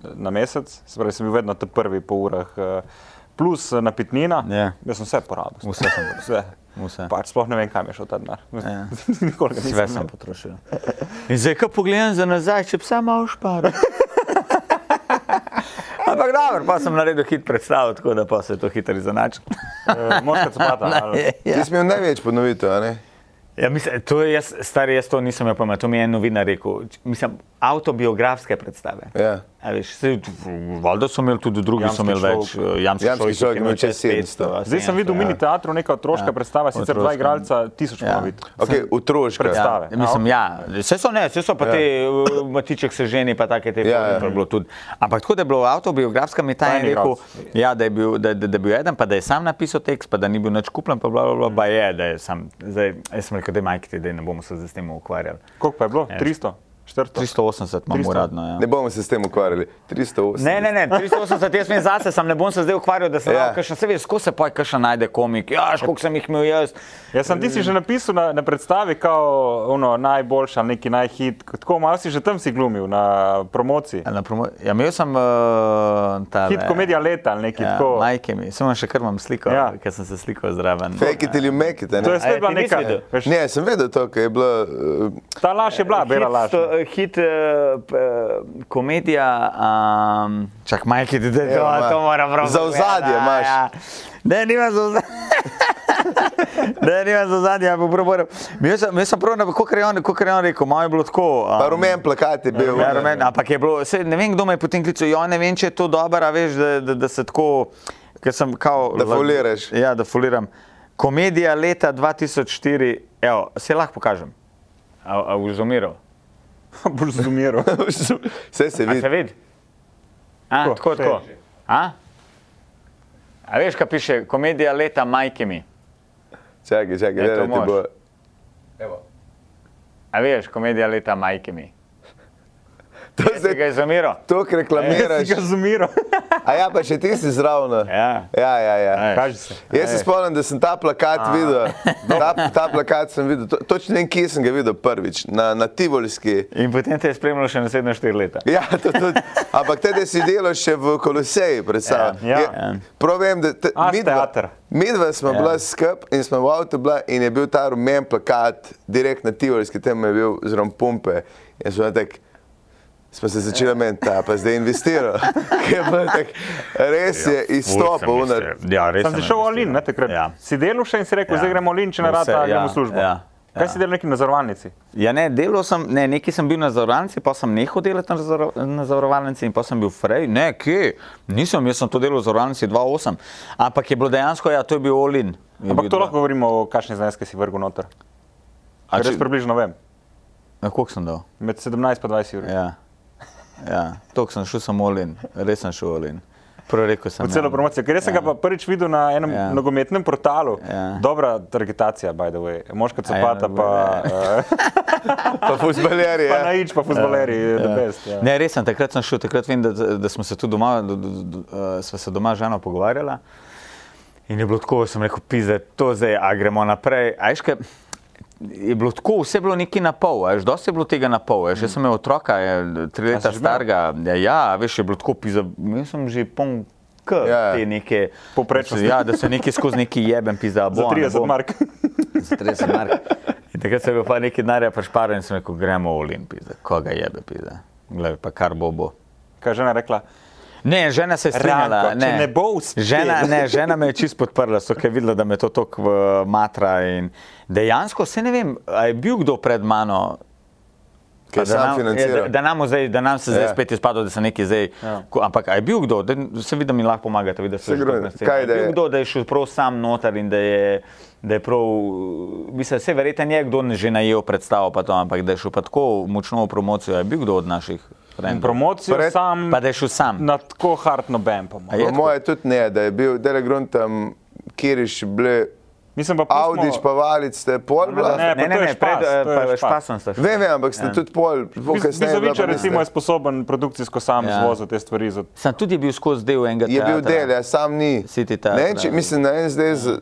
C: na mesec, se pravi, sem bil vedno ta prvi po urah, eh, plus eh, napitnina.
B: Ja.
C: Jaz sem vse porabil.
B: Vse sem porabil.
C: Vse.
B: Vse.
C: Pač sploh ne vem, kam je šel ta denar.
B: Ja.
C: Nikoli ga
B: Sve
C: nisem
B: sem
C: imel.
B: potrošil. In zdaj, ko pogledam za nazaj, če bi samo malo šparil. Ampak dobro, pa sem naredil hit predstavo, tako da pa se je to hitro izenači.
C: Eh, Moška copata. ali-
D: Ti si imel največ ponovitev, a ne?
B: Ja, mislim, to je jaz, stari, jaz to nisem imel pameti, to mi je en novinar rekel. Č- Mislim, avtobiografske predstave.
D: Ja.
B: A Veš, sej, valjda so imeli tudi drugi,
C: Jamski
B: so imeli več.
C: človek.
B: eh, Jamski,
D: Jamski človek
B: je
D: je imel čez 700.
B: 500, a
C: Zdaj sem videl v
B: 700, ja.
C: mini teatru neka otroška
B: Ja.
C: predstava, sicer dva
B: Otroška.
C: igralca, tisoč
B: Ja.
C: mora biti.
D: Ok, otroška.
C: Predstava.
B: Ja,
C: predstave.
B: mislim,
C: A,
B: ja. Vse so ne, vse so pa
D: Ja.
B: ja. te uh, matiček se ženi, pa take te
D: Ja,
B: filme,
D: ja.
B: to je bilo tudi. Ampak tako da je bilo avtobiografska, mi je ta
C: Fajn
B: en rekel,
C: igralec.
B: ja, da, je bil, da, da, da je bil eden, pa da je sam napisal tekst, pa da ni bil nič kupljen, pa bla, bla, bla, pa je, da je sam. Zdaj, jaz sem rekel, da je majhni, da ne bomo se zdaj s tem ukvarjali.
C: Koliko pa je
B: Ja.
C: bilo? 300? 400?
B: 380 imamo
C: 300.
B: uradno. Ja.
D: Ne bomo se s tem ukvarjali. 308.
B: Ne, ne, ne, 380, jaz sem zase, sam ne bom se zdaj ukvarjal, da sem
D: Ja.
B: ja. kakšen, se veš, skozi se poj, kakšen najde komik, ja, škok sem jih imel jaz.
C: Jaz Ja sem ti si že napisal na, na predstavi, kao ono, najboljša, ali neki najhit. Tako malo si že tam si glumil na promociji.
B: Na promo- Ja, imel sem uh, ta.
C: Hit komedija leta ali neki
B: Ja,
C: tako.
B: Majke mi, samo še kar imam sliko,
C: Ja.
B: ja. ker sem se slikal zraven.
D: Fake it ili make it, a
C: To je
D: ne?
B: A
C: spet
B: ja,
C: bila
B: ti nisi
C: neka.
B: videl?
C: veš,
D: Ne, sem vedel to, ker je bilo... eh,
C: Ta laž je bila, Ja, bela laž.
B: Hit, sto- hit eh, p- eh, komedija, um, Ja, čak majke, da to,
D: Evo, ma.
B: to moram prav. Ja,
D: Za ozadje
B: pogledati,
D: imaš.
B: Ne, nima za ozadje. ja, Ne, ne, za zadnje, ampak proboram. Jaz sem- jaz sem prav, kako je on, kakor je on rekel, malo je bilo tako. a,
D: Pa rumen plakat je bil.
B: Ja, rumen, ampak je bilo, saj ne vem, kdo me je potem klical, jo ne vem, če je to dobro, a veš, da, da, da se tako, ker sem kao.
D: Da foliraš.
B: Ja, da foliram. Komedija leta 2004, evo, se lahko pokažem. A, a boš zumiral?
C: Boš zumiral.
D: Vse se
B: A se
D: vidi.
B: vidi? A,
C: Tako,
B: tako, tako.
C: sej.
B: A? a veš, kaj piše, komedija leta Majkemi.
D: Čakaj, čakaj,
B: Ne,
D: ne,
B: Ja, to
D: ne, ti bo.
B: moraš. A veš, komedija leta Majkemi.
D: To
B: Ja, Si ga Ja,
D: se
B: je zumiral?
D: tok
C: Jaz
D: reklamiraš.
C: si ga zumiral.
D: A ja, pa še ti si zraven.
B: Ja.
D: Ja, ja, ja.
B: Ej.
C: Kaži se.
D: Jaz se spomnim, da sem ta plakat videl. Ta, ta plakat sem videl, to, točno ne vem, kje sem ga videl prvič, na, na Tivolski.
B: In potem te je spremljal še naslednje štiri leta.
D: Ja, to, to, ampak tede si delal še v Koloseji, predstavljam.
C: Ja, ja.
D: Prav vem, da te,
C: A,
D: midva,
C: teater.
D: midva smo ja. bila skupaj in smo v avtu bila in je bil ta rumen plakat direkt na Tivolski, tam je bil zrom pumpe. In smo tak, smo se začeli meniti, "Ta pa zdaj investiral. Ker je bilo tako, Res je izstopil. unar.
B: Ja, res
C: Sem si šel v Olin, ne takrat.
B: Ja.
C: Si delal še in si rekel,
B: Ja.
C: zdaj gremo v Olin, če ne
B: Vse,
C: rata,
B: ja,
C: gremo v službo.
B: ja,
C: Kaj
B: ja.
C: si delal neki na zavarovalnici?
B: Ja, ne, delal sem, ne, nekaj sem bil na zavarovalnici, pa sem nehal delati na, zaro, na zavarovalnici in pa sem bil frej. Ne, kje, nisem, jaz sem to delal v zavarovalnici 2-8, ampak je bilo dejansko, ja, to je bil Olin.
C: Ampak to lahko govorimo, kakšne zneske si vrgel noter.
B: A
C: Res
B: če-
C: približno vem.
B: Na koliko sem dal?
C: Med 17 in 20 ur.
B: Ja, ja. toliko sem šel samo Olin, res sem šel Olin. Prvo rekel sem.
C: V celo
B: ja.
C: promocijo, ker jaz sem ga pa prvič videl na enem
B: Ja.
C: nogometnem portalu.
B: Ja.
C: Dobra targetacija, by the way. Moška
B: A ja,
C: copata, pa, eh,
D: Pa fuzbalerje.
C: pa naič, pa fuzbaleri, the best. Ja.
B: Ne, res sem, takrat sem šel, takrat vem, da, da smo se tu doma, da, da, da, eh, sva se doma z ženo pogovarjala. In je bilo tako, sem rekel, pizde, to zdaj, a gremo naprej. A veš, kaj, je bilo tako, vse je bilo neki na pol, a veš, dosti je bilo tega na pol. a Veš, jaz sem imel otroka, je, tri leta
C: si že imel?
B: starega, ja, ja, a veš, je bilo tako, pizde, jaz sem že poln.
D: Ja,
B: K,
D: ja.
B: ja, te neke
C: Povprečnosti.
B: Ja, da se nekaj skozi neki jeben pizda.
C: Za 30 mark.
B: Za 30 mark. In takrat sem bil pa nekaj denarja, pa šparen in sem rekel, gremo v Olimpijo, koga jebe, pizda. Glej, pa kar bo bo.
C: Kaj je žena rekla?
B: Ne, žena se je
C: Ranko,
B: strinjala.
C: če ne bo uspelo.
B: žena, ne, žena me je čist podprla, so ker je videla, da me to tako eh, matra. in Dejansko se ne vem, a je bil kdo pred mano.
D: Ki je
B: da
D: sam
B: nam- ja,
D: financiral.
B: Da, da, nam bo zdaj, da nam se zdaj
D: Ja.
B: spet izpadlo, da se nekaj zdaj.
C: Ja.
B: ko- Ampak a je bil kdo, da, se vidi, da mi lahko pomagate. Vidi, da se
D: Sigurno. Kaj
B: je
D: da
B: bil
D: je?
B: kdo, da je šel prav sam noter in da je, da je prav, mislim, vse verjeten je, kdo že najel predstavo, pa to, ampak da je šel pa tako močno v promocijo, a je bil kdo od naših. frendov?
C: Promocijo
D: Pred-
C: sam
B: Pa da je šel sam.
C: na tako hard noben, po mojem.
B: je
D: Po
B: tako?
D: moje tudi ne, da je bil Delegrunt tam, kjer je še bile
C: Mislim pa, pustimo-
D: Audič, pa Valic, ste pol bila.
C: Ne, pa
B: Ne,
C: to
B: ne,
C: je
B: ne, pred,
C: špas,
B: eh,
C: to je
B: pa
C: špas.
B: špasom sta šla.
D: Vem, vem, ampak ste tudi pol, pol
C: Biz-
D: kasneje. bila
C: Bizovičar
D: pa niste.
C: Ja. recimo je sposoben produkcijsko sam
B: Ja.
C: zvozil te stvari. Za...
B: Sam tudi je bil skozi del enega.
D: Je bil
B: teatra.
D: del, ja, sam ni. Ne,
B: City teatra.
D: vem, če, mislim, na en zdaj, z-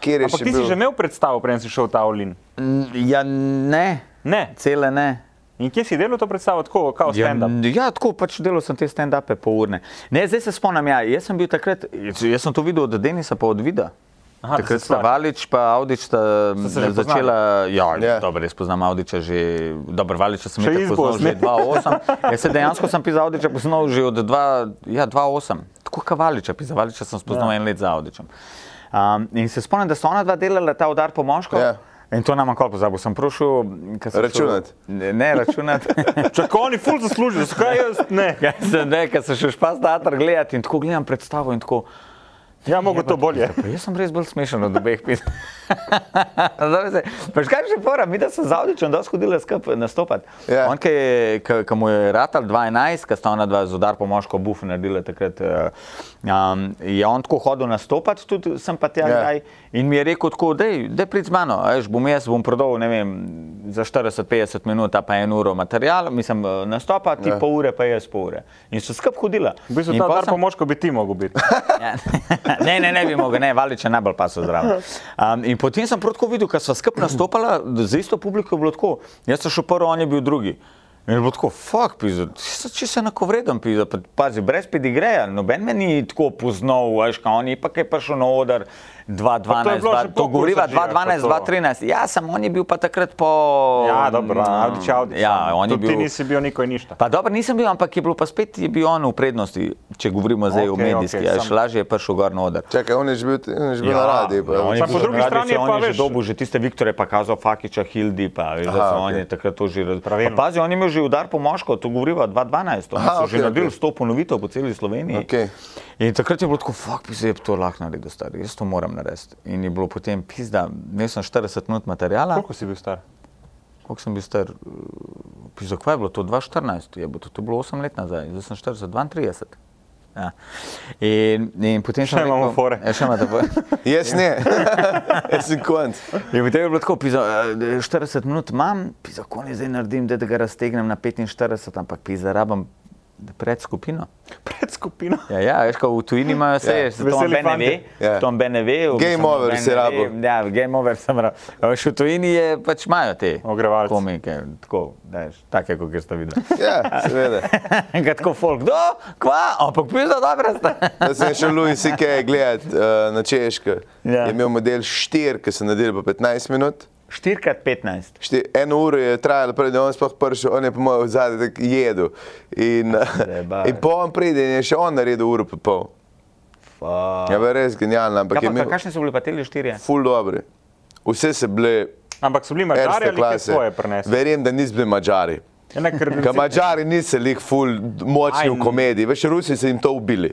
D: kjer je
C: Ampak
D: še
C: ti si že
D: bil.
C: imel predstavo, preden si šel v ta Olin.
B: N- Ja, ne,
C: Ne.
B: cele ne.
C: In kje si delal to predstavo, tako kot
B: Ja,
C: stand-up?
B: n- ja, tako pač delal sem te stand-upe polurne. Ne, zdaj se spomnim, ja, jaz sem bil takrat, jaz sem to videl od Denisa pa od Vida.
C: Aha, da
B: takrat
C: se
B: sta
C: stvar-
B: Valič pa Audič sta
C: Sta se že
B: m, začela,
D: Ja.
B: ja, yeah. dobro, jaz poznam Audiča že, dobro, Valiča sem
C: Še
B: itak
C: iz
B: poznal
C: Bosne.
B: že 2.8, jaz se dejansko sem pisal Audiča poznal že od 2, ja, 2.8, tako kot Valiča, pisal Valiča sem
C: Ja.
B: spoznal yeah. en let za Audičem. Um, in se spomnim, da so ona dva delala ta udar po moško.
D: Ja.
B: In to nam je kol pozabil, sem prošel, ko sem šel-
D: Računat.
B: Ne, ne računati.
C: Čakaj, oni ful zaslužijo, zakaj jaz ne?
B: Kaj se ne, ker se še špas teater gledati in tako gledam predstavo in tako.
C: Ja, mogo to bolje.
B: Pa jaz sem res bolj smešen od obeh pisem. Paš kaj že pora, mi da sem z Avdičem dosti hodila skupaj nastopati.
D: Ja.
B: On, ki je- ki- ki mu je ratal 2.11, ki sta ona dva z udar po moško buf naredila takrat, eh, um, je on tako hodil nastopati, tudi sem pa tja
D: Ja.
B: kdaj in mi je rekel tako, da prid z mano, a veš, bom jaz bom prodal, ne vem, za 40-50 minut, a pa eno uro materijala, mislim, eh, nastopa, ti
D: Ja.
B: pol ure, pa jaz pol ure. In so skup hodila.
C: V bistvu
B: In
C: ta
B: pol
C: dar
B: sem-
C: pomočko bi ti mogel biti.
B: Ja. ne, ne, ne bi mogel, ne, valiče najbolj pa so zraven. Um, in potem sem prav tako videl, ker sva skupaj nastopala, da za isto publiko je bilo tako. Jaz sem šel prvi, on je bil drugi. In je bilo tako, fuck, pizda, če se enakovreden, pizda, pa, pazi, brez pedigreja, noben me ni tako poznal, veš, kaj on je pa kaj prišel na oder,
C: Pa to je
B: 2012,
C: bilo
B: dva-
C: še po
B: to govoriva
C: Kurzažijah, pa
B: 2012,
C: to.
B: 2013. Ja, samo on je bil pa takrat po.
C: Ja, dobro, Avdić, Avdić.
B: Ja, on je
C: Tudi ti
B: bil.
C: nisi bil nikoli ništa.
B: Pa dobro, nisem bil, ampak je bilo pa spet je bil on v prednosti, če govorimo zdaj okay, o
C: Okej,
B: medijski.
C: okej,
B: Okay, ja,
C: samo-
B: lažje je prišel gor na oder.
D: Čakaj, on je že bil, on je že bil na radiju. pa-
B: Ja, no, on je
C: Samo
B: bil
C: po
B: že
C: drugi
B: na radiu,
C: strani
B: saj
C: je
B: on
C: pa,
B: je že
C: veš-
B: dobil že tiste Viktore, pa kazal Fakiča, Hildi, pa veš, da
D: Aha,
B: so
D: okej.
B: on je takrat to že
C: Pravilno.
B: razpravljal. Pazi, on je imel že udar po moško, to govoriva 2012, to
D: Aha,
B: so že
D: okej,
B: naredili
D: okej.
B: 100 ponovitev po celi Sloveniji.
D: Okej.
B: In takrat je bilo tako, fuk, bi se je to lahko naredil, stari, jaz to moram narediti. In je bilo potem pizda, imel sem 40 minut materijala,
C: Koliko si bil star?
B: koliko sem bil star, pizda, kaj je bilo to, 2014, je bilo to, to je bilo 8 let nazaj, zdaj sem 40, 32. Ja. In, in potem
C: Še imamo fore.
B: Ja, še imate fore.
D: Jaz ne, jaz sem konc.
B: Je potem je bilo tako, pizda, eh, 40 minut imam, pizda, konj zdaj naredim, da, da ga raztegnem na 45, ampak pizda, rabam pred skupino.
C: Pred skupino.
B: Ja, ja, veš, ko v tujini imajo seje,
D: Ja.
B: se to
C: Veseli
B: noben ne ve.
C: fantje.
D: Ja.
B: To noben ne ve. v
D: Game
B: bistvu
D: over
B: noben
D: si
B: ne ve.
D: rabil.
B: Ja, game over sem rabo. Veš, v tujini je, pač imajo te
C: Ogrevalce.
B: komike, tako, veš, take, kot ste videli.
D: Ja, seveda.
B: Ga tako folk, kdo, kva, ampak pizda, dobro ste.
D: Jaz sem šel Louis C.K. gledati uh, na Češko.
B: Ja.
D: Ja. Je imel model 4, ki sem naredil po 15 minut.
B: 4x15.
D: Šti- Eno uro je trajalo, preden je on sploh prišel, on je po mojem zadnjem tako jedel. In,
B: Zebaj.
D: in po on pride in je še on naredil uro pa pol. Ja, bila je res genialno, ampak
B: Ja,
D: je
B: pa,
D: imel
B: kakšne so bili pa te štirje?
D: ful dobre. Vse se bile
C: Ampak so bili mačari
D: erste
C: ali kaj
D: klase.
C: svoje prinesli?
D: Verjem, da niso bili mačari.
C: Ja, ne, ker-
D: Ker mačari niso lih ful močni
C: Aj,
D: v komediji, veš, Rusi so jim to ubili.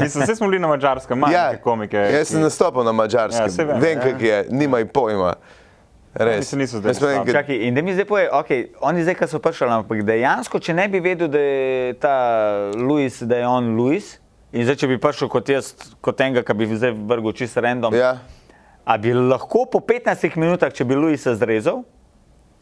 C: Mislim, vsi smo bili na mačarskem, malo ja, komike.
D: Jaz sem nastopil na mačarskem,
C: Ja, saj
D: ja,
C: vem,
D: vem,
C: ja.
D: kako je, nimaj pojma. Res.
C: Mislim, niso zdaj
D: Jaz vem,
C: slabi.
D: ker-
B: Čakaj, in da mi zdaj poje, okay, oni zdaj, ko so prišli, no, ampak dejansko, če ne bi vedel, da je ta Luis, da je on Luis, in zdaj, če bi prišel kot jaz, kot enega, ki bi zdaj vrgel čisto random,
D: Ja.
B: a bi lahko po 15 minutah, če bi Luisa zrezal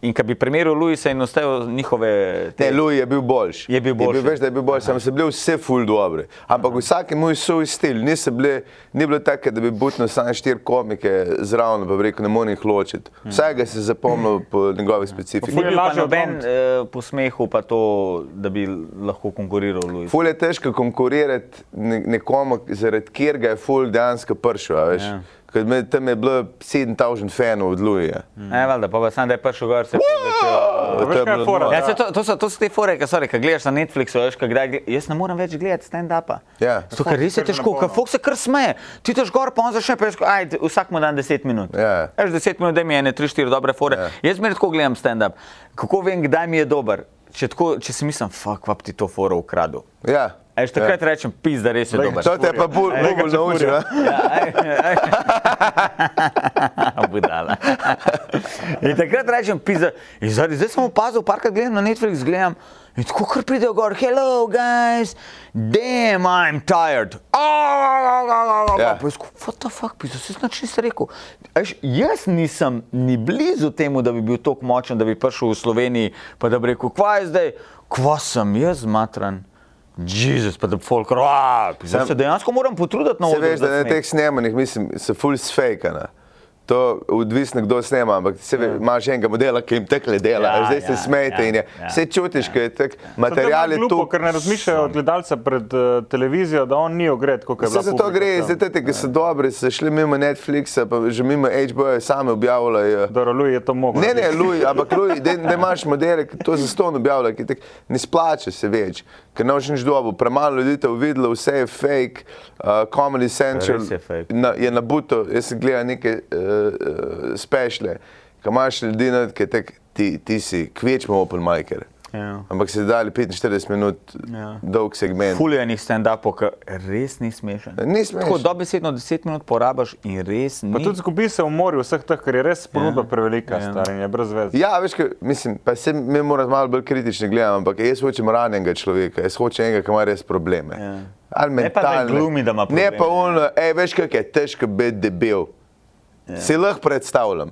B: in ki bi primeril Luisa in ostal njihove
D: Ne,
B: te,
D: Louis je bil boljši.
B: Je bil boljši.
D: Veš, da je bil boljši, sam so bile vse ful dobre. Ampak vsak je imel svoj stil, Niso bile, ni bilo tako, da bi butno samo štiri komike zraven, pa bi rekel, ne morem jih ločiti. Vsakega se je zapomnil po njegovi specifiki.
B: Ni
C: je
B: bil pa
C: lažje
B: noben
C: odlomiti.
B: eh, po smehu, pa to, da bi lahko konkuriral Luis.
D: Ful je težko konkurirati ne- nekomu, zaradi katerega je ful dejansko prišel. a veš.
B: Ja.
D: Ker me- Tam je bilo 7000 fanov od Louisa.
B: Ne, valjda, pa, pa sam da je prišel gor, se je začel.
D: To
C: veš,
D: je
C: kaj je
D: bilo
C: fora?
D: noro.
B: Ja. Ja, saj to, to, so, to so te fore, ki so rekli, gledaš na Netflixu, veš, kaj kdaj. gled- Jaz ne morem več gledati stand-upa.
D: Ja.
B: Zato, ker res je
C: Kar na
B: težko,
C: polno.
B: ker fok se kar smeje. Ti teš gor, pa on začne pa jaz, aj, d- vsak mu dan 10 minut.
D: Ja.
B: Veš, 10 minut, da mi je ene 3-4 dobre fore.
D: Ja.
B: Jaz zmeraj tako gledam stand-up. Kako vem, kdaj mi je dober? Če, tako, če si mislim, fuck, vap ti to foro ukradel.
D: Ja.
B: Eš, takrat ja. rečem, pizda, res je
C: Lej,
B: dober.
D: To te je pa bolj
C: Ej, ga
D: naučil.
C: čefurja.
D: a?
B: Ja, aj, aj. Budala. In takrat rečem, pizda. In zdaj, zdaj sem opazil, parkrat gledam na Netflix, gledam. In tako kar pridejo gor, hello guys, damn, I'm tired.
D: Ja.
B: Ja. Pa jaz, tako, what the fuck, pizda, se znači nisi rekel. Eš, jaz nisem ni blizu temu, da bi bil tako močen, da bi prišel v Sloveniji, pa da bi rekel, kva je zdaj, kva sem jaz, matran. Jezus, pa da bi folk, roa, zdaj
D: Sam-
B: se dejansko moram potruditi na
D: Se
B: odru.
D: veš, da
B: za
D: na
B: smeh."
D: teh snemanjih, mislim, so full sfejkana. To odvisno, kdo snema, ampak se ve, imaš enega modela, ki jim tekle dela,
B: Ja,
D: ja, zdaj
B: ja,
D: se smejte
B: ja,
D: ja, in je.
B: ja,
D: Vse čutiš, ja. ker je tak
C: Saj to je
D: material je
C: malo glupo,
D: tu.
C: Ker ne razmišljajo od gledalca pred eh, televizijo, da on ni ogret, kot je
D: Vse
C: bilo.
D: za to gre, zdaj te, ki so dobri, so šli mimo Netflixa, pa že mimo HBO-ja, same objavljajo.
C: Doroluj je to mogoče.
D: Ne, ne, Luj, ampak Luj, da da imaš modele, ki to za ston objavljajo, ki tak, ne splača se več, ker ne boš nič dobo. Premalo ljudi te je videlo, vse je fake, uh, Comedy Central
B: Res je fake.
D: na, je nabuto, jaz sem gledal neke uh, uh, spešle, ki imaš ljudi, not, ki tek, ti, ti si kvečmo open micer.
B: Ja.
D: Ampak si dali 45 minut
B: Ja.
D: ja. dolg segment.
B: Fuljenih stand-upov, ki res ni smešen.
D: Ni smešen.
B: Tako dobesedno 10 minut porabiš in res ni.
C: Pa tudi zgubi se v morju vseh teh, ker je res ponudba prevelika,
B: Ja.
C: star in je brez veze.
D: Ja, veš, kaj, mislim, pa se mi moramo malo bolj kritični gledati, ampak jaz hočem ranjenega človeka, jaz hočem enega, ki ima res probleme.
B: Ja.
D: Ali
B: Ne pa, da
D: mentalne.
B: glumi, da ima
D: Ne
B: probleme.
D: pa ono, ej, veš, kako je težko biti debel. Ja. Si lahko predstavljam.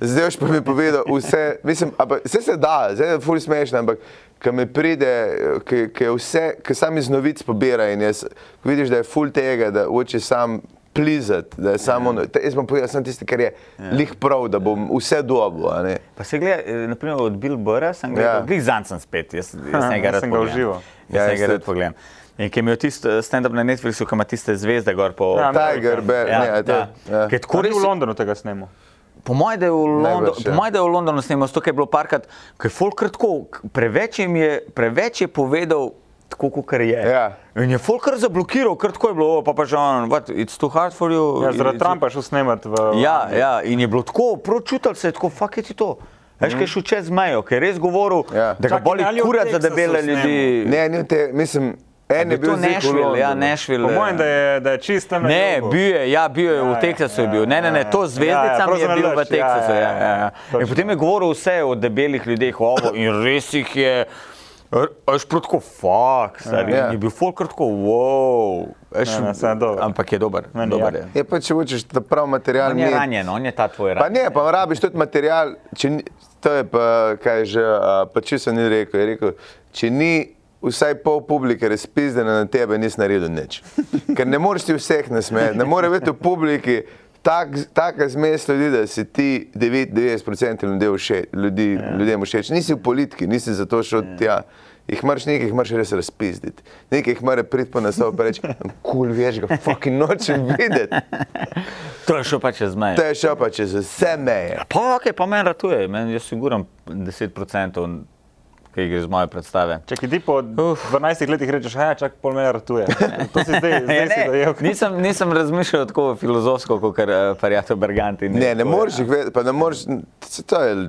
D: Zdaj boš pa mi povedal vse, mislim, ampak, vse se da, zdaj je ful smešno, ampak ko mi pride, ki je vse, ki sam iz novic pobira in jaz, ko vidiš, da je ful tega, da hoče sam plizati, da je samo, ja. jaz bom povedal samo tisto, kar je ja. lih prav, da bom vse dobo, a ne.
B: Pa se gleda, eh, naprimer, od Bill Burra sem
D: Ja.
B: gledal, ja. glej zanj sem spet, jaz, jaz sem ga
C: jaz
B: rad
C: sem ga
B: pogledam.
C: užival.
B: Jaz
D: Ja,
B: sem
D: jaz
B: ga rad
D: tudi.
B: pogledam. In ki je imel tisti eh, stand-up na Netflixu, ki ima tiste zvezde gor po.
C: Ja,
D: Tiger, Bear,
B: Ja,
D: ne, a to,
B: ja.
D: ja.
B: Ki je
C: Ko
B: tako
C: ni v
B: res-
C: Londonu tega snemu.
B: Po mojem, da je v Londonu,
D: Najbrž, ja.
B: po moje, da je v Londonu snemal, to je bilo parkrat, ker je folk kratko, preveč jim je, preveč je povedal. Tako kot je.
D: Ja.
B: In je folk kar zablokiral, kar tako je bilo, "O, pa pa že on, what, it's too hard for you.
C: Ja, zaradi
B: It's-
C: Trumpa je šel snemati v.
B: Ja, ja, in je bilo tako, pročutil se je tako, fuck je ti to. Veš, kaj je šel čez mejo, ker je res govoril,
D: Mhm. Ja.
B: ja. da ga
C: Čakaj,
B: boli
C: ali je v
B: kurat za
C: Teksasu
B: debele
C: snemal?
B: ljudi.
D: Ne, ni v te, mislim, en
B: je
D: je
B: bil
D: bil no.
B: to
D: zik v
B: Nashville, ja,
D: Londonu.
B: Nashville.
C: Po mojem, da je, da je čist tam na
B: Ne,
C: jugu.
B: bil je, ja, bil je
C: Ja,
B: v
C: ja,
B: Teksasu. je
C: ja,
B: bil. Ne, ne, ne,
C: ja,
B: to
C: ja.
B: z zvezdicami
C: Ja, ja,
B: je bil v
C: Frozen
B: Teksasu.
C: Lodge,
B: Ja,
C: ja,
B: ja,
C: ja,
B: ja.
C: točno.
B: In potem je govoril vse o debelih ljudeh, ovo, in res jih je. Aš protko, fuck, stari.
D: Ja.
B: in Je bil folk kratko, wow. Eš,
C: Ne, ne, saj je dober.
B: ampak je dober.
C: Meni
B: dober
C: je.
B: je.
D: Je Ja, pa če hočeš ta prav material.
B: On je
D: imeti.
B: ranjen, on je ta tvoj
D: Pa
B: ranjen.
D: ne, pa rabiš tudi material. če ni- To je pa, kaj je že, a, pa če sem ni rekel, je rekel, če ni vsaj pol publike razpizdena na tebe, nisi naredil nič. Ker ne moreš ti vseh nasmejati, ne more biti v publiki. Tak, taka zmes ljudi, da si ti 99% ljudi všeč, ljudi, yeah. ljudem všeč. Nisi v politiki, nisi zato šel yeah. tja. Jih moraš nekaj, jih moraš res razpizditi. Nekaj jih mora priti po naslovu in reči, kul cool, veš, ga fucking nočem videti.
B: To je šel pa čez mejo.
D: To je šel pa čez vse meje.
B: Pa, ok, pa meni ratuje, meni je siguran 10%, ki gre iz moje predstave.
C: Če ti po 12 letih rečeš, hej, čak pol mene ratuje. To si zdaj,
B: Ja,
C: zdaj si dojel.
B: nisem, nisem razmišljal tako filozofsko kot Farijato Berganti.
D: Ne, ne
B: tako, ja.
D: moreš jih vedeti, pa ne moreš. se to je-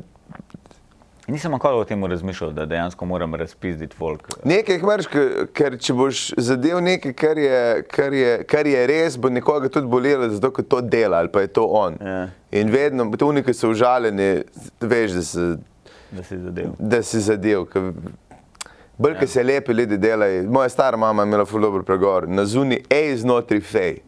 B: Nisem nikoli o tem razmišljal, da dejansko moram razpizditi folk. eh,
D: Nekaj jih moraš, ke- ker če boš zadev nekaj, kar je, kar je, kar je res, bo nekoga tudi bolelo, zato ker to dela ali pa je to on.
B: Ja.
D: In vedno, tu neki so užaljeni, veš, da si,
B: Da si zadev.
D: da si zadev. ke- Bolj,
B: Ja.
D: ki se lepi ljudje delajo. Moja stara mama je imela ful dobro pregovor. Na zuni ej znotraj fej.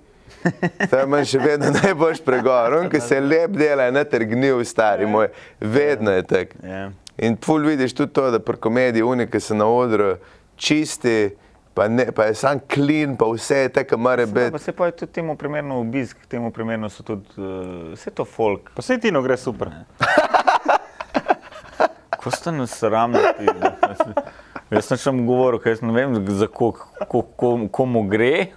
D: To je meni še vedno najboljši pregovor. On, ki se lep dela, je natrgnil, stari moj. Vedno je tako.
B: Ja.
D: In pol vidiš tudi to, da pri komediji unike se na odru čisti, pa, ne, pa je sam klin, pa vse je tako, mora
B: Pa
D: biti.
B: se pa je tudi temu primerno obisk, temu primerno so tudi uh, vse to folk.
C: Pa se ti no gre super.
B: Ko ste nesramni? Jaz sem še mu govoril, ker jaz ne vem, za ko, ko, ko, komu gre.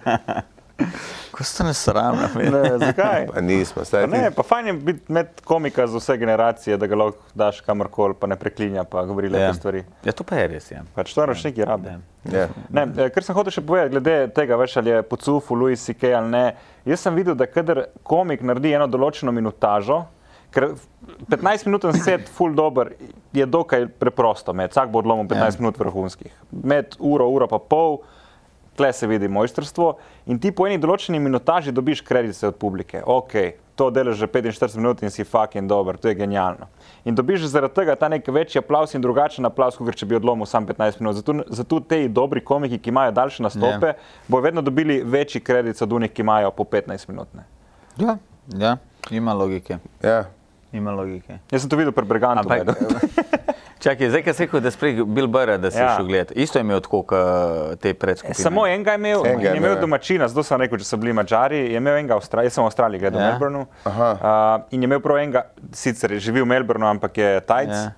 B: Ko ste nesramni?
C: Ne, E, zakaj?
D: Pa nismo,
C: Pa
D: stari.
C: ne, pa fajn je biti med komika z vse generacije, da ga lahko daš kamorkoli, pa ne preklinja, pa govori lepe
B: Ja.
C: yeah. stvari.
B: ja, to pa je res. Ja.
C: Pač to naš neki rabi.
B: Ja.
D: Ja.
C: Ne, eh, kar sem hotel še povedati, glede tega, veš, ali je po CUF-u, Louis C.K. ali ne. Jaz sem videl, da kadar komik naredi eno določeno minutažo, ker 15-minuten set, full dober, je dokaj preprosto. Med vsak bo odlomil 15 ja. minut vrhunskih. Med uro, uro pa pol, tle se vidi mojstrstvo in ti po eni določeni minutaži dobiš kredite od publike. Ok, to delaš že 45 minut in si fucking dober, to je genialno. In dobiš zaradi tega ta nek večji aplaus in drugačen aplaus, kot če bi odlomil sam 15 minut. Zato, zato te dobri komiki, ki imajo daljše nastope, yeah. bojo vedno dobili večji kredit od unih, ki imajo po 15 minut. Ne.
B: Ja, ja, ima logike.
D: Ja.
B: Ima logike.
C: Jaz sem to videl pri Brigantu.
B: Ampak,
C: vedno.
B: čakaj, zdaj, ki si rekel, da si prej Bill Burr, da si ja.
C: Ja.
B: šel gledat. Isto je imel tako, kot te predskupine.
C: Samo enega je imel,
D: Enega
C: enega je
D: je imel,
C: imel
D: ja.
C: domačina, zato sem rekel, če so bili mačari, je imel enega, Austra jaz sem v Avstraliji gledal
B: Ja.
C: v Melbournu.
D: Aha.
C: Uh, in je imel prav enega, sicer živi v Melbournu, ampak je Tajc.
B: Ja.